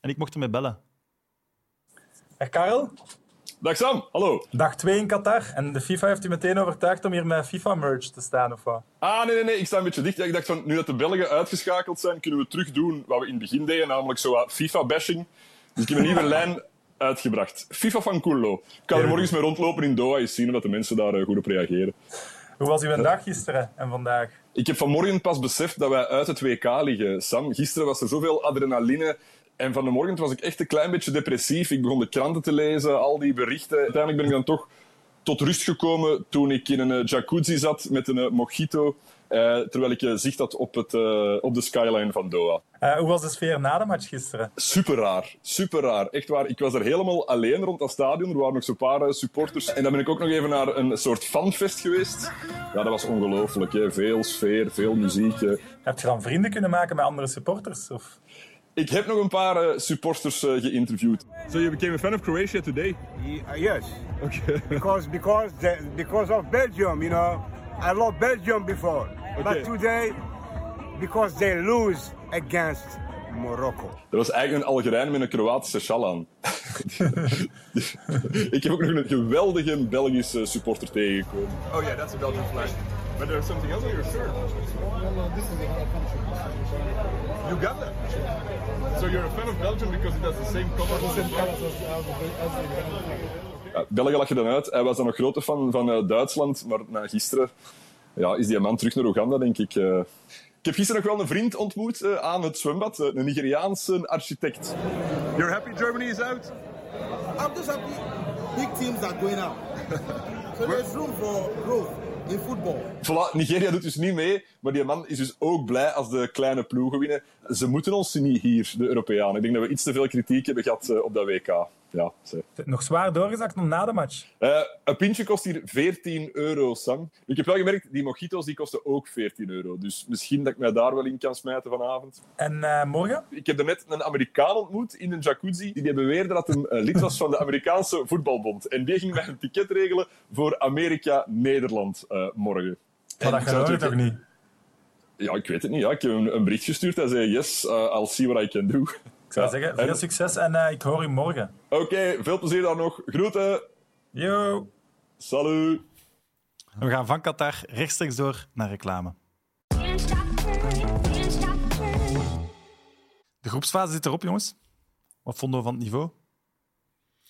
S1: En ik mocht hem bellen.
S8: Hey Karel,
S5: Dag Sam, hallo.
S8: dag 2 in Qatar. En de FIFA heeft u meteen overtuigd om hier met FIFA-merge te staan, of wat?
S9: Ah, nee, nee, nee, ik sta een beetje dicht. Ja, ik dacht van, nu dat de Belgen uitgeschakeld zijn, kunnen we terug doen wat we in het begin deden, namelijk zo wat FIFA-bashing. Dus ik heb een nieuwe lijn uitgebracht. FIFA van Coolo. Ik ga er morgen eens mee rondlopen in Doha, eens zien of dat de mensen daar eh, goed op reageren.
S8: Hoe was uw dag gisteren en vandaag?
S9: Ik heb vanmorgen pas beseft dat wij uit het WK liggen, Sam. Gisteren was er zoveel adrenaline. En van de morgen was ik echt een klein beetje depressief. Ik begon de kranten te lezen, al die berichten. Uiteindelijk ben ik dan toch tot rust gekomen toen ik in een eh, jacuzzi zat met een eh, mojito. eh, terwijl ik eh, zicht had op, het, eh, op de skyline van Doha.
S8: Eh, hoe was de sfeer na de match gisteren?
S9: Super raar, super raar. Echt waar, ik was er helemaal alleen rond dat stadion. Er waren nog zo'n paar eh, supporters. En dan ben ik ook nog even naar een soort fanfest geweest. Ja, dat was ongelooflijk. hè. Veel sfeer, veel muziek. eh.
S8: Heb je dan vrienden kunnen maken met andere supporters? Of?
S9: Ik heb nog een paar eh, supporters eh, geïnterviewd. So you became a fan of Croatia today?
S10: Uh, yes. Okay. because because the, because of Belgium, you know, I loved Belgium before,
S9: Okay.
S10: but today because they lose against Morocco.
S9: Dat was eigenlijk een Algerijn met een Kroatische sjal aan. ik heb ook nog een geweldige Belgische supporter tegengekomen.
S10: Oh yeah, that's a Belgian flag.
S9: But there's something else on your shirt. Uganda. So you're a fan of Belgium because it has the same colors as Ja, België lag je dan uit. Hij was dan nog grote fan van eh, Duitsland, maar na gisteren ja, is die man terug naar Oeganda, denk ik. eh. Ik heb gisteren nog wel een vriend ontmoet eh, aan het zwembad, eh, een Nigeriaanse architect. You're happy Germany is out?
S11: I'm just happy big teams are going out. so there's room for growth in football.
S9: Voilà, Nigeria doet dus niet mee, maar die man is dus ook blij als de kleine ploegen winnen. Ze moeten ons niet hier, de Europeanen. Ik denk dat we iets te veel kritiek hebben gehad eh, op dat WK. Ja, zeg.
S8: Nog zwaar doorgezakt nog na de match.
S9: Eh, een pintje kost hier 14 euro, Sam. Ik heb wel gemerkt, die mojitos die kosten ook 14 euro. Dus misschien dat ik mij daar wel in kan smijten vanavond.
S8: En eh, morgen?
S9: Ik heb net een Amerikaan ontmoet in een jacuzzi. Die beweerde dat hij eh, lid was van de Amerikaanse voetbalbond. En die ging mij een ticket regelen voor Amerika-Nederland eh, morgen.
S8: Maar dat geloof je toch niet?
S9: Ja, ik weet het niet. Ja. Ik heb hem een bericht gestuurd. Hij zei, yes, eh, I'll see what I can do.
S8: Ik zou
S9: Ja,
S8: zeggen,
S9: en-
S8: veel succes en eh, ik hoor u morgen.
S9: Oké, veel plezier daar nog. Groeten.
S8: Yo!
S9: Salut.
S1: We gaan van Qatar rechtstreeks door naar reclame.
S6: Can't stop turning, can't stop turning.
S1: De groepsfase zit erop, jongens. Wat vonden we van het niveau?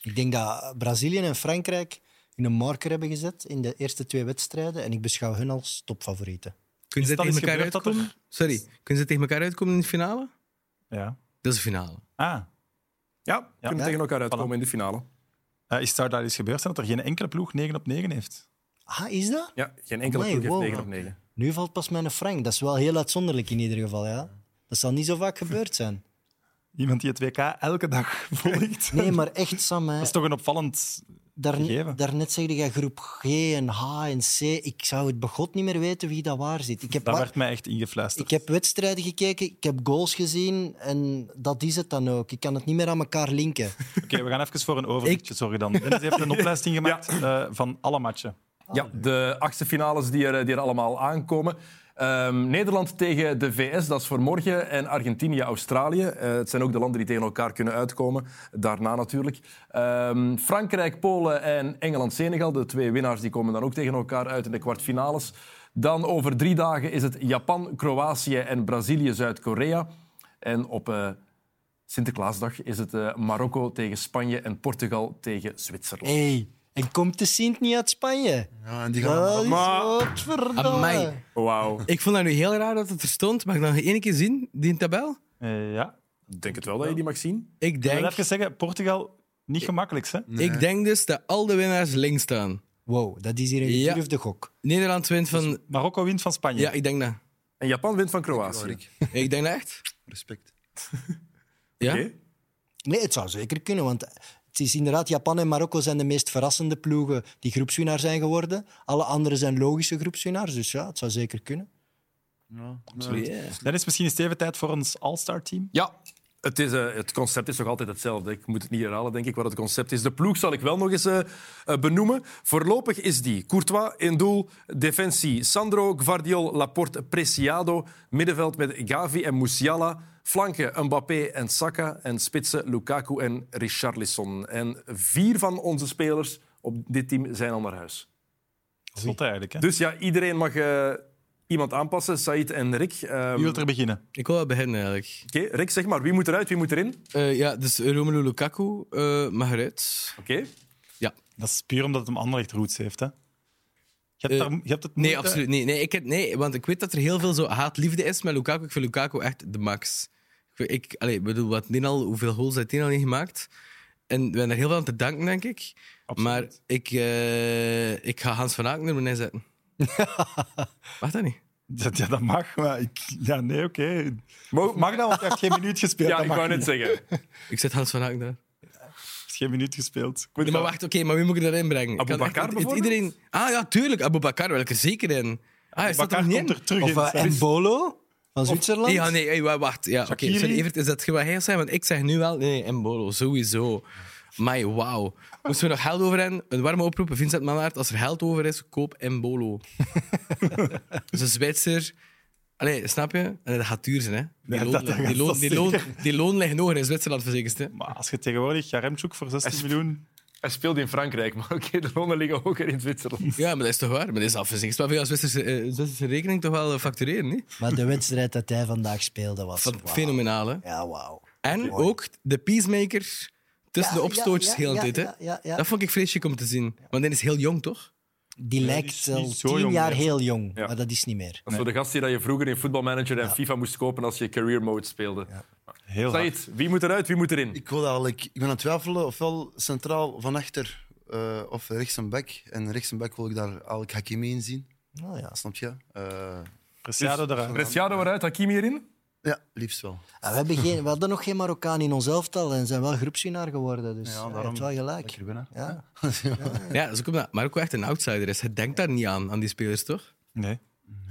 S2: Ik denk dat Brazilië en Frankrijk hun marker hebben gezet in de eerste twee wedstrijden. En ik beschouw hun als topfavorieten.
S4: Kunnen ze
S1: dat
S4: tegen
S1: eens
S4: elkaar
S1: gebeurd dat
S4: uitkomen? Sorry, kunnen ze tegen elkaar uitkomen in de finale?
S1: Ja.
S4: Dat is de finale.
S1: Ah,
S5: Ja, kunnen
S1: Ja.
S5: tegen elkaar uitkomen in de finale.
S1: eh, is, zou daar iets gebeurd zijn dat er geen enkele ploeg 9 op 9 heeft?
S2: Ah, is dat?
S5: Ja, geen enkele
S2: Amai,
S5: ploeg heeft
S2: wow.
S5: 9 op 9.
S2: Nu valt pas mijn Frank. Dat is wel heel uitzonderlijk in ieder geval, ja. Dat zal niet zo vaak gebeurd zijn.
S1: Iemand die het WK elke dag volgt.
S2: Nee, maar echt, Sam, hè.
S1: Dat is toch een opvallend...
S2: Daar,
S1: gegeven.
S2: daarnet zegde jij groep G en H en C. Ik zou het begot niet meer weten wie dat waar zit. Ik heb,
S1: Dat
S2: wa-
S1: werd mij echt ingefluisterd.
S2: ik heb wedstrijden gekeken, ik heb goals gezien en dat is het dan ook. Ik kan het niet meer aan elkaar linken.
S1: Oké, we gaan even voor een overzichtje zorgen dan. Dennis heeft een opleiding gemaakt eh, van alle matchen.
S5: Ja, de achtste finales die er, die er allemaal aankomen. Ehm, Nederland tegen de VS, dat is voor morgen. En Argentinië-Australië. Eh, het zijn ook de landen die tegen elkaar kunnen uitkomen. Daarna natuurlijk. Ehm, Frankrijk, Polen en Engeland-Senegal. De twee winnaars die komen dan ook tegen elkaar uit in de kwartfinales. Dan over drie dagen is het Japan, Kroatië en Brazilië-Zuid-Korea. En op eh, Sinterklaasdag is het eh, Marokko tegen Spanje en Portugal tegen Zwitserland.
S2: Hé, hey, en komt de Sint niet uit Spanje?
S3: Ja, en die gaan
S2: Dat is
S5: maar-
S2: wat verdomme.
S4: Amai.
S5: Wauw.
S4: Ik vond dat nu heel raar dat het er stond. Mag ik dat nog één keer zien, die tabel?
S1: Eh, ja.
S5: Ik denk het wel dat je die mag zien.
S4: Ik
S1: Ik wil
S4: denk,
S1: even zeggen, Portugal, niet gemakkelijk, hè?
S4: ik denk dus dat al de winnaars links staan.
S2: Wow, dat is hier een
S4: Ja.
S2: gedurfde gok.
S4: Nederland wint van...
S1: Marokko wint van Spanje.
S4: Ja, ik denk dat.
S5: En Japan wint van Kroatië.
S4: Ik denk dat echt.
S3: Respect.
S4: Ja?
S5: Oké.
S2: Nee, het zou zeker kunnen, want het is inderdaad, Japan en Marokko zijn de meest verrassende ploegen die groepswinnaar zijn geworden. Alle anderen zijn logische groepswinnaars, dus ja, het zou zeker kunnen.
S3: Ja,
S4: Ja.
S1: Dennis, misschien is het even tijd voor ons All-Star team.
S5: Ja, het, is, eh, het concept is nog altijd hetzelfde. Ik moet het niet herhalen, denk ik, wat het concept is. De ploeg zal ik wel nog eens eh, eh, benoemen. Voorlopig is die Courtois in doel, defensie Sandro, Gvardiol, Laporte, Preciado, middenveld met Gavi en Musiala, flanken Mbappé en Saka en spitsen Lukaku en Richarlison. En vier van onze spelers op dit team zijn al naar huis.
S1: Zot eigenlijk, hè?
S5: Dus ja, iedereen mag eh, iemand aanpassen, Said en Rick. Ehm,
S1: Wie wilt er beginnen?
S4: Ik wil wel beginnen eigenlijk.
S5: Oké, Rick, zeg maar, wie moet eruit, wie moet erin? Oké.
S4: Eh, ja, dus Romelu Lukaku eh, mag eruit.
S1: Dat is puur omdat het hem Anderlecht roots heeft, hè? Je hebt,
S4: Eh,
S1: daar, je hebt het
S4: Nee,
S1: moeite-
S4: absoluut niet. Nee, ik heb, nee, want ik weet dat er heel veel zo haat-liefde is met Lukaku. Ik vind Lukaku echt de max. Ik, weet- ik allee, ik bedoel, wat die al, hoeveel goals heeft die al niet gemaakt? En we hebben er heel veel aan te danken, denk ik.
S1: Absoluut.
S4: Maar ik, eh, ik ga Hans van Aken er maar neerzetten. Mag dat niet?
S1: Ja, ja, dat mag, maar ik... Ja, nee, oké.
S5: Mo-
S1: Mag dat, want hij heeft geen minuut gespeeld.
S5: Ja,
S1: dat
S5: ik
S1: mag
S5: wou
S1: niet.
S5: net zeggen. Ik
S4: Ik zet Hans van Aken daar.
S1: Hij heeft geen minuut gespeeld.
S5: moet
S4: Nee, maar
S5: wel-
S4: wacht, oké, maar wie moet ik erin brengen? Ik
S5: Abu
S4: kan echt-
S5: Bakar
S4: het- het
S5: bijvoorbeeld?
S4: Iedereen... Ah ja, tuurlijk, Abu Bakar, wel ik er zeker in. Ah, hij staat er
S1: Bakar
S4: nog niet
S1: komt
S4: in.
S1: er terug
S2: Of
S1: in.
S2: eh,
S1: Sam.
S2: Embolo van Zwitserland?
S4: Nee, ja, nee, hey, wa- wacht. Ja, oké.
S1: Shaqiri?
S4: Sorry, Evert, is dat je wat heel zijn? Want ik zeg nu wel, nee, Mbolo, sowieso. Maar wauw. Moesten we nog geld over hebben? Een warme oproep, Vincent Manlaert. Als er geld over is, koop Mbolo. dus een Zwitser... Allee, snap je? En dat gaat duur zijn, hè? Die,
S1: Ja,
S4: loon,
S1: dat- dat
S4: die,
S1: gaat
S4: loon,
S1: dat
S4: die, loon,
S1: zeker.
S4: die loon ligt hoger in Zwitserland, verzekerd. hè?
S1: Maar als je tegenwoordig Jaremchuk voor 16 miljoen...
S5: Hij speelde in Frankrijk, maar oké, de lonen liggen hoger in Zwitserland.
S4: Ja, maar dat is toch waar? Maar dat is afgezien. Maar als Zwitserse, eh, Zwitserse rekening toch wel eh, factureren, niet?
S2: Maar de wedstrijd dat hij vandaag speelde was...
S4: Van,
S2: wauw.
S4: Fenomenaal, hè?
S2: Ja, wauw.
S4: En ook de peacemaker tussen
S2: Ja,
S4: de opstootjes
S2: ja, ja,
S4: heel de
S2: ja,
S4: tijd, hè?
S2: ja, ja, ja.
S4: Dat vond ik vreselijk om te zien. Want hij is heel jong, toch?
S2: Die lijkt
S1: is
S2: al
S1: niet zo
S2: tien
S1: jong
S2: jaar
S1: meer.
S2: heel jong,
S5: Ja.
S2: maar dat is niet meer.
S5: Dat is voor de gast die dat je vroeger in voetbalmanager en FIFA moest kopen als je career mode speelde.
S1: Heel hard.
S5: Said, wie moet eruit, wie moet erin?
S3: Ik, wil eigenlijk, ik ben aan het twijfelen, ofwel centraal van achter eh, of rechts en back. En rechts en back wil ik daar eigenlijk Hakimi in zien.
S2: Nou ja.
S3: Snap je? Eh,
S1: Preciado eruit.
S5: Cristiano eruit, Hakimi erin?
S3: ja, liefst wel.
S2: Ah, we, hebben geen, we hadden nog geen Marokkaan in ons elftal en zijn wel groepswinnaar geworden. Dus ja,
S3: daarom-
S2: heeft wel gelijk.
S3: Lekker winnen.
S2: Ja.
S4: Ja, dat is ook omdat Marco echt een outsider is. Hij denkt daar niet aan, aan die spelers, toch?
S1: Nee.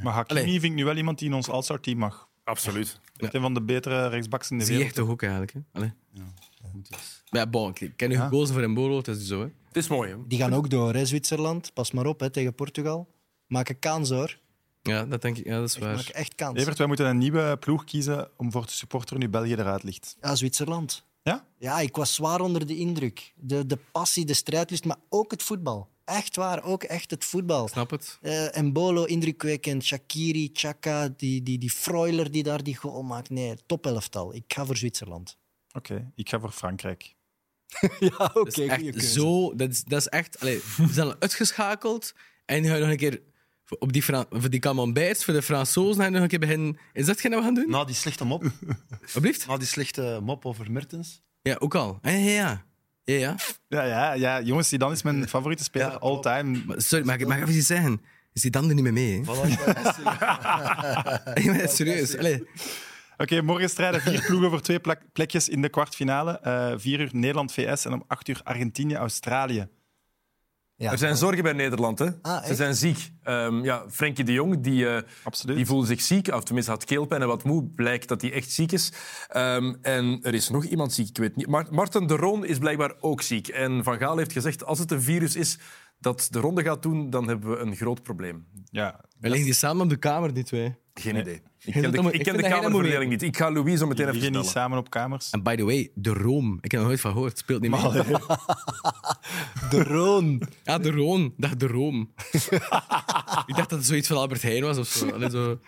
S1: Maar Hakimi
S4: Allee.
S1: vind ik nu wel iemand die in ons All-Star team mag.
S5: Absoluut.
S1: Echt Een van de betere rechtsbacks in de
S4: Zie je
S1: wereld.
S4: toch ook eigenlijk, hè? Allee. Maar dus. ja, bon, ik- ik ken nu gekozen voor een bolo, het is zo, hè?
S5: Het is mooi, hè?
S2: Die gaan ook door, hè, Zwitserland. Pas maar op hè, tegen Portugal. Maken kans hoor.
S4: Ja, dat denk ik. Ja, dat is waar.
S2: Maken echt kans.
S1: Evert, wij moeten een nieuwe ploeg kiezen om voor te supporteren nu België eruit ligt.
S2: Ja, Zwitserland.
S1: Ja?
S2: Ja, ik was zwaar onder de indruk. De, de passie, de strijdlust, maar ook het voetbal. Echt waar, ook echt het voetbal.
S4: Snap het?
S2: Eh Embolo, indrukwekkend. Shakiri, Chaka, die, die, die Freuler die daar die goal maakt. Nee, topelftal. Ik ga voor Zwitserland.
S1: Oké, ik ga voor Frankrijk.
S2: Ja, oké.
S4: Dat is echt zo. Dat is, dat is echt. Allee, we zijn al uitgeschakeld. En nu ga je nog een keer. voor- Op die, Fran- voor die camemberts, voor de Fransozen, ga je nog een keer beginnen. Is dat geen wat we gaan doen?
S3: Na die slechte mop,
S4: Alsjeblieft.
S3: na die slechte mop over Mertens.
S4: Ja, ook al. Ja, ja, ja. ja, ja.
S1: Ja, ja, ja, jongens, die dan is mijn favoriete speler
S3: Ja,
S1: all
S3: klopt.
S1: time.
S4: Maar, sorry, mag ik, mag ik even iets zeggen? Is die dan er niet meer mee? Hè?
S3: Voilà, ik ben-
S4: Ik ben serieus. Allee,
S1: Oké, morgen strijden vier ploegen voor twee plek- plekjes in de kwartfinale. Eh vier uur Nederland-VS en om acht uur Argentinië-Australië.
S5: Er zijn zorgen bij Nederland, hè?
S2: Ah, echt?
S5: Ze zijn ziek. Ehm ja, Frenkie de Jong, die, eh,
S1: Absoluut.
S5: die voelde zich ziek. Of tenminste, had keelpijn en wat moe. Blijkt dat hij echt ziek is. Ehm, en er is nog iemand ziek, ik weet niet. Maar Martin de Roon is blijkbaar ook ziek. En Van Gaal heeft gezegd, als het een virus is dat de ronde gaat doen, dan hebben we een groot probleem.
S1: Ja,
S4: we liggen die samen op de kamer, die twee.
S5: Geen idee. Ik
S4: dat
S5: ken de,
S4: allemaal-
S5: ik
S4: ik
S5: ken
S4: vind
S5: de
S4: dat heel
S5: kamerverdeling niet. Ik ga Louis zo
S1: die
S5: meteen even
S1: liggen niet
S5: vertellen.
S1: samen op kamers.
S4: En by the way, de Room. Ik heb er nog nooit van gehoord. Speelt niet meer.
S2: De Roon.
S4: Ja, de Roon. Dag, de Room. ik dacht dat het zoiets van Albert Heijn was of zo. Allee, zo.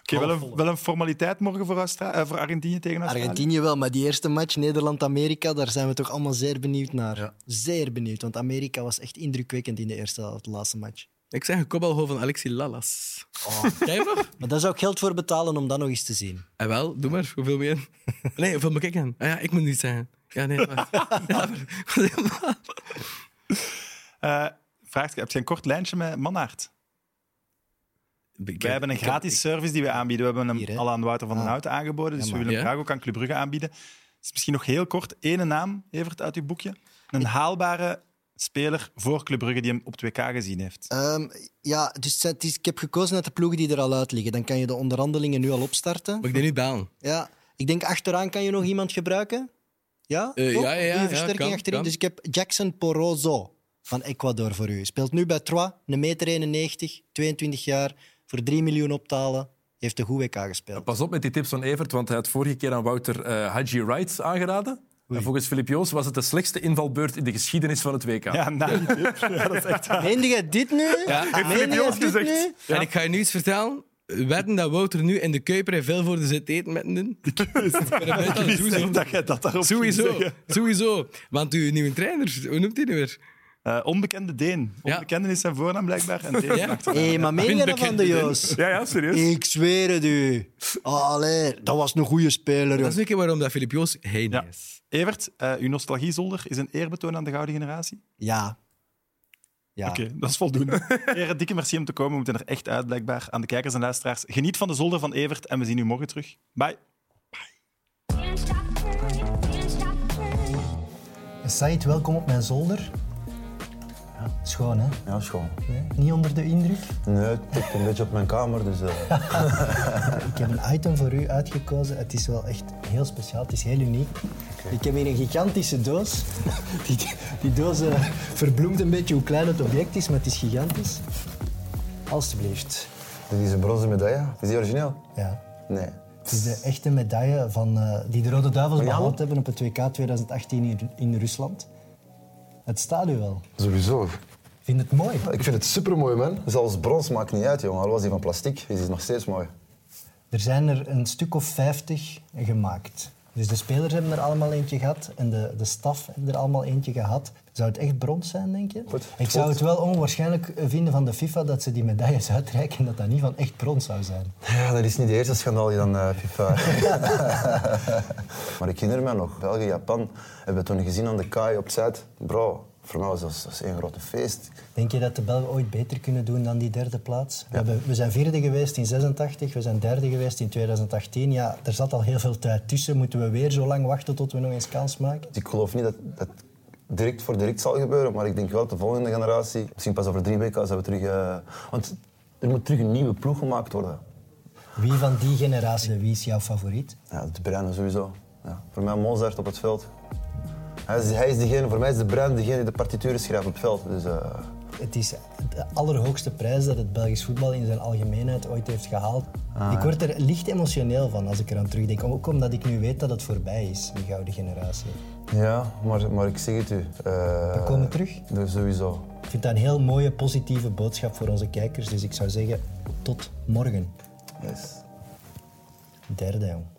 S1: Oké, wel, een, wel een formaliteit morgen voor, Austra- eh, voor Argentinië tegen Australië.
S2: Argentinië wel, maar die eerste match Nederland-Amerika, daar zijn we toch allemaal zeer benieuwd naar. Zeer benieuwd, want Amerika was echt indrukwekkend in de eerste helft, de laatste match.
S4: Ik zeg een kopbalgoal van Alexi Lalas. Kijk maar.
S2: Maar daar zou ik geld voor betalen om dat nog eens te zien.
S4: En wel, doe maar. Hoeveel meer? Nee, hoeveel moet ik aan? Ah ja, ik moet niet zeggen. Ja, nee, wacht. Ja, maar-
S1: Eh, vraagt, heb je een kort lijntje met Mannaert?
S4: Ik
S1: Wij hebben een gratis service die we aanbieden. We hebben
S2: Hier,
S1: hem
S2: hè?
S1: al aan Wouter van den
S2: Ah.
S1: Houten aangeboden, dus we
S2: maar-
S1: willen hem
S4: Ja.
S1: graag ook aan Club Brugge aanbieden. Het is misschien nog heel kort ene naam, Evert, uit uw boekje. Een haalbare speler voor Club Brugge die hem op 2K gezien heeft.
S2: Ehm, ja, dus het zijn- het is- ik heb gekozen uit de ploegen die er al uit liggen. Dan kan je de onderhandelingen nu al opstarten.
S4: Mag ik die nu bellen?
S2: Ja, ik denk achteraan kan je nog iemand gebruiken. Ja?
S4: Eh,
S2: Toch?
S4: ja, ja, ja,
S2: Goeie
S4: ja,
S2: versterking
S4: kan,
S2: achterin.
S4: kan.
S2: Dus ik heb Jackson Porozo van Ecuador voor u. Speelt nu bij Troyes, een meter 91, 22 jaar, voor 3 miljoen optalen. Heeft een goed WK gespeeld.
S5: Pas op met die tips van Evert, want hij had vorige keer aan Wouter eh Haji Wright aangeraden. En volgens Filip Joos was het de slechtste invalbeurt in de geschiedenis van het WK.
S4: Ah.
S1: Ja, nou, na die tip. Ja, dat is echt waar.
S2: Meende jij dit nu?
S4: Ja,
S2: Meende
S5: Filip
S2: jij
S5: Joos
S2: dit
S5: gezegd.
S2: nu?
S4: En ik ga je nu iets vertellen. Wedden dat Wouter nu in de Kuiper in Vilvoorde zit eten met een Ik
S1: Ik wist echt dat jij dat daarop ging
S4: Sowieso,
S1: zeggen.
S4: sowieso. Want uw nieuwe trainer, hoe noemt hij nu weer?
S1: Eh, onbekende Deen.
S4: Ja.
S1: Onbekende is zijn voornaam blijkbaar. En Deen is
S4: Ja.
S1: een achternaam.
S2: Hé, maar meen je dat van de Joost?
S5: Ja, ja, serieus.
S2: Ik zweer het u. Allee, dat was een goede speler,
S4: Dat is
S2: jong.
S4: een keer waarom dat Filip Joos heen
S1: Ja.
S4: is.
S1: Evert, eh, uw nostalgiezolder is een eerbetoon aan de gouden generatie.
S2: Ja. Ja.
S1: Oké, dat is voldoende. Heren, dikke merci om te komen. We moeten er echt uit, blijkbaar. Aan de kijkers en luisteraars, geniet van de zolder van Evert en we zien u morgen terug. Bye.
S6: Can't stop learning, can't stop learning.
S2: Said, welkom op mijn zolder. Schoon, hè?
S12: Ja, schoon.
S2: Niet onder de indruk.
S12: Nee, het tikt een beetje op mijn kamer, dus... eh,
S2: Ik heb een item voor u uitgekozen. Het is wel echt heel speciaal. Het is heel uniek. Ik heb hier een gigantische doos. Die, die doos eh, verbloemt een beetje hoe klein het object is, maar het is gigantisch. Alsjeblieft.
S12: dit is een bronzen medaille. Is die origineel?
S2: Ja.
S12: Nee.
S2: Het is de echte medaille van, eh, die de Rode Duivels
S12: Van Jan?
S2: behaald hebben op het WK 2018 in, in Rusland. Het stadion wel.
S3: Sowieso.
S2: Vind het mooi?
S3: Ik vind het supermooi, man. Zelfs brons maakt niet uit, jongen. Al was die van plastic, is die nog steeds mooi.
S2: Er zijn er een stuk of 50 gemaakt. Dus de spelers hebben er allemaal eentje gehad en de, de staf hebben er allemaal eentje gehad. Zou het echt brons zijn, denk je? Ik zou het wel onwaarschijnlijk vinden van de FIFA dat ze die medailles uitreiken en dat dat niet van echt brons zou zijn.
S3: Ja, dat is niet de eerste schandaal die dan eh, FIFA. maar ik herinner me nog, België, Japan hebben we toen gezien aan de kaai op het zuid. Bro, voor mij was dat, dat is één grote feest.
S2: Denk je dat de Belgen ooit beter kunnen doen dan die derde plaats? We, hebben- we zijn vierde geweest in 86, we zijn derde geweest in 2018. Ja, er zat al heel veel tijd tussen. Moeten we weer zo lang wachten tot we nog eens kans maken?
S3: Dus Ik geloof niet dat dat direct voor direct zal gebeuren, maar ik denk wel dat de volgende generatie, misschien pas over drie weken, zijn we terug. eh, want er moet terug een nieuwe ploeg gemaakt worden.
S2: Wie van die generatie, wie is jouw favoriet?
S3: Ja, de Bruine sowieso. Ja. Voor mij Mozart op het veld. Hij is, hij is degene, voor mij is de Bruin degene die de partituren schrijft op het veld. Dus, eh,
S2: Het is de allerhoogste prijs dat het Belgisch voetbal in zijn algemeenheid ooit heeft gehaald.
S3: Ah,
S2: ik
S3: ja.
S2: word er licht emotioneel van als ik eraan terugdenk. Ook omdat ik nu weet dat het voorbij is, die gouden generatie.
S3: ja, maar, maar ik zeg het u. eh,
S2: We komen terug.
S3: Dus sowieso.
S2: Ik vind dat een heel mooie, positieve boodschap voor onze kijkers. Dus ik zou zeggen, tot morgen.
S3: Yes.
S2: Derde, jong.